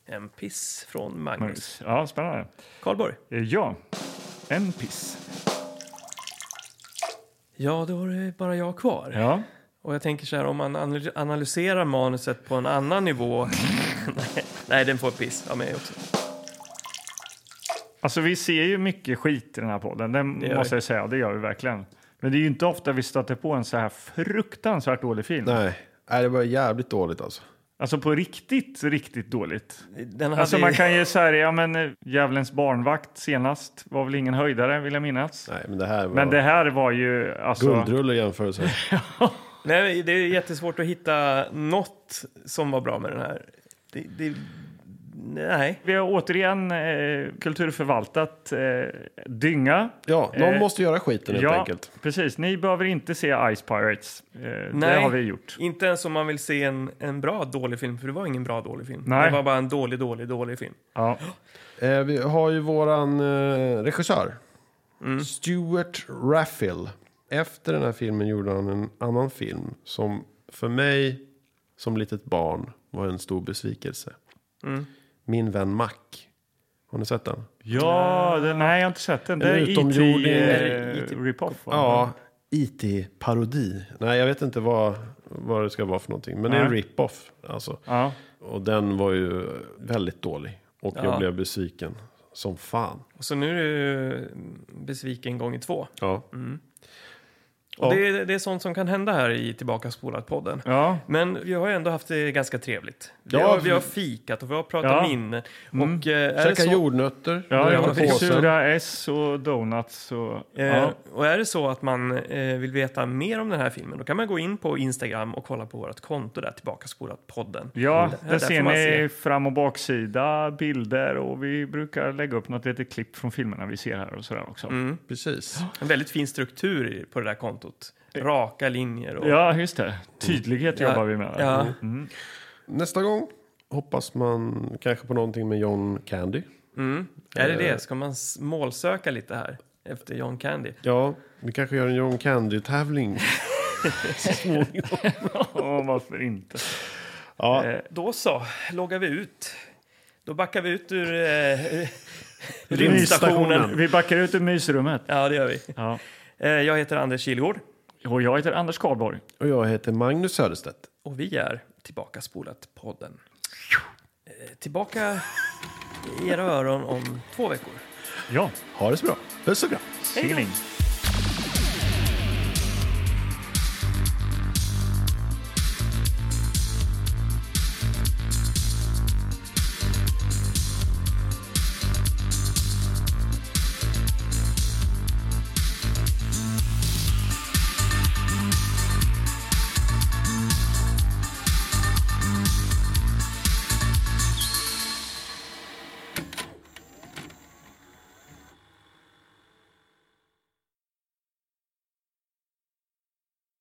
Speaker 1: En piss från Magnus.
Speaker 2: Ja, spännande.
Speaker 1: Karlborg.
Speaker 2: Eh, Ja. En piss.
Speaker 1: Ja, då är det bara jag kvar.
Speaker 2: Ja.
Speaker 1: Och jag tänker så här, om man anal- analyserar manuset på en annan nivå... nej, nej, den får piss av mig också.
Speaker 2: Alltså vi ser ju mycket skit i den här podden, det,
Speaker 1: Det gör
Speaker 2: måste
Speaker 1: vi.
Speaker 2: jag säga. Det gör vi verkligen. Men det är ju inte ofta vi stöter på en så här fruktansvärt dålig film.
Speaker 3: Nej. Nej, det var jävligt dåligt alltså.
Speaker 2: Alltså på riktigt, riktigt dåligt.
Speaker 1: Den hade
Speaker 2: Alltså
Speaker 1: ju-
Speaker 2: man kan ju säga, ja men eh, Djävulens barnvakt senast var väl ingen höjdare vill jag minnas.
Speaker 3: Nej, men det här var
Speaker 2: Men det här var ju alltså...
Speaker 3: guldrulle i jämförelse.
Speaker 1: Nej, det är jättesvårt att hitta något som var bra med den här. Det, det, Nej.
Speaker 2: Vi har återigen eh, kulturförvaltat eh, dynga.
Speaker 3: Ja, någon
Speaker 2: Eh,
Speaker 3: måste göra skiten helt
Speaker 2: ja,
Speaker 3: enkelt.
Speaker 2: precis. Ni behöver inte se Ice Pirates. Eh, Det
Speaker 1: Nej.
Speaker 2: har vi gjort.
Speaker 1: Inte ens om man vill se en, en bra dålig film, för det var ingen bra dålig film.
Speaker 2: Nej.
Speaker 1: Det var bara en dålig, dålig, dålig film.
Speaker 2: Ja.
Speaker 3: Eh, vi har ju våran eh, regissör. Stuart Raffel. Efter den här filmen gjorde han en annan film som för mig som litet barn var en stor besvikelse. Min vän Mac. Har ni sett den?
Speaker 2: Ja, den, nej, jag har inte sett den. Det är
Speaker 3: En utomjording-
Speaker 2: IT, eh, rip-off, va?
Speaker 3: Ja, IT-parodi. E Nej, jag vet inte vad, vad det ska vara för någonting. Men det är en
Speaker 2: Nej.
Speaker 3: rip-off. Alltså.
Speaker 2: ja.
Speaker 3: Och den var ju väldigt dålig. Och jag
Speaker 1: Ja.
Speaker 3: blev besviken som fan.
Speaker 1: Och så nu är du ju besviken gånger två.
Speaker 3: Ja.
Speaker 1: Och
Speaker 3: Ja.
Speaker 1: det, är- det är sånt som kan hända här i Tillbaka spolat-podden.
Speaker 2: Ja.
Speaker 1: Men vi har ju ändå haft det ganska trevligt. Vi,
Speaker 3: Ja,
Speaker 1: har,
Speaker 3: vi-
Speaker 1: vi har fikat och vi har pratat
Speaker 2: Ja. Mm.
Speaker 1: om minnen. Och, eh, är det
Speaker 3: Käka
Speaker 1: så,
Speaker 3: jordnötter.
Speaker 2: Ja,
Speaker 3: ur
Speaker 2: jag
Speaker 3: den
Speaker 2: har
Speaker 3: här
Speaker 2: fått
Speaker 3: påsen.
Speaker 2: sura S och donuts. Och,
Speaker 1: eh,
Speaker 2: ja.
Speaker 1: och är det så att man eh, vill veta mer om den här filmen då kan man gå in på Instagram och kolla på vårt konto där, Tillbaka spolat-podden.
Speaker 2: Ja,
Speaker 1: Där-
Speaker 2: där
Speaker 1: där
Speaker 2: ser
Speaker 1: får
Speaker 2: ni
Speaker 1: man se.
Speaker 2: fram och baksida, bilder och vi brukar lägga upp något litet klipp från filmerna vi ser här och sådär också.
Speaker 1: Mm.
Speaker 3: Precis.
Speaker 1: En väldigt fin struktur i- på det där kontot. Raka linjer och...
Speaker 2: Ja, Mm. just det. Tydlighet jobbar vi med.
Speaker 1: Ja.
Speaker 3: Nästa gång hoppas man kanske på någonting med John Candy.
Speaker 1: Är det det? Ska man s- målsöka lite här efter John Candy?
Speaker 3: Ja, vi kanske gör en John Candy-tävling.
Speaker 2: Ja, varför inte?
Speaker 3: Ja,
Speaker 1: Eh, Då så, loggar vi ut. Då backar vi ut ur eh,
Speaker 3: Rymdstationen.
Speaker 1: rymdstationen.
Speaker 2: Vi backar ut ur mysrummet.
Speaker 1: Ja, det gör vi.
Speaker 2: Ja.
Speaker 1: Eh, jag heter Anders Kilgård
Speaker 2: Och jag heter Anders Karlborg.
Speaker 3: och jag heter Magnus Söderstedt.
Speaker 1: och vi är Tillbaka spolat-podden. Eh, tillbaka i era öron om två veckor.
Speaker 2: Ja,
Speaker 3: Ha det så bra. Puss och kram.
Speaker 2: tjingeling.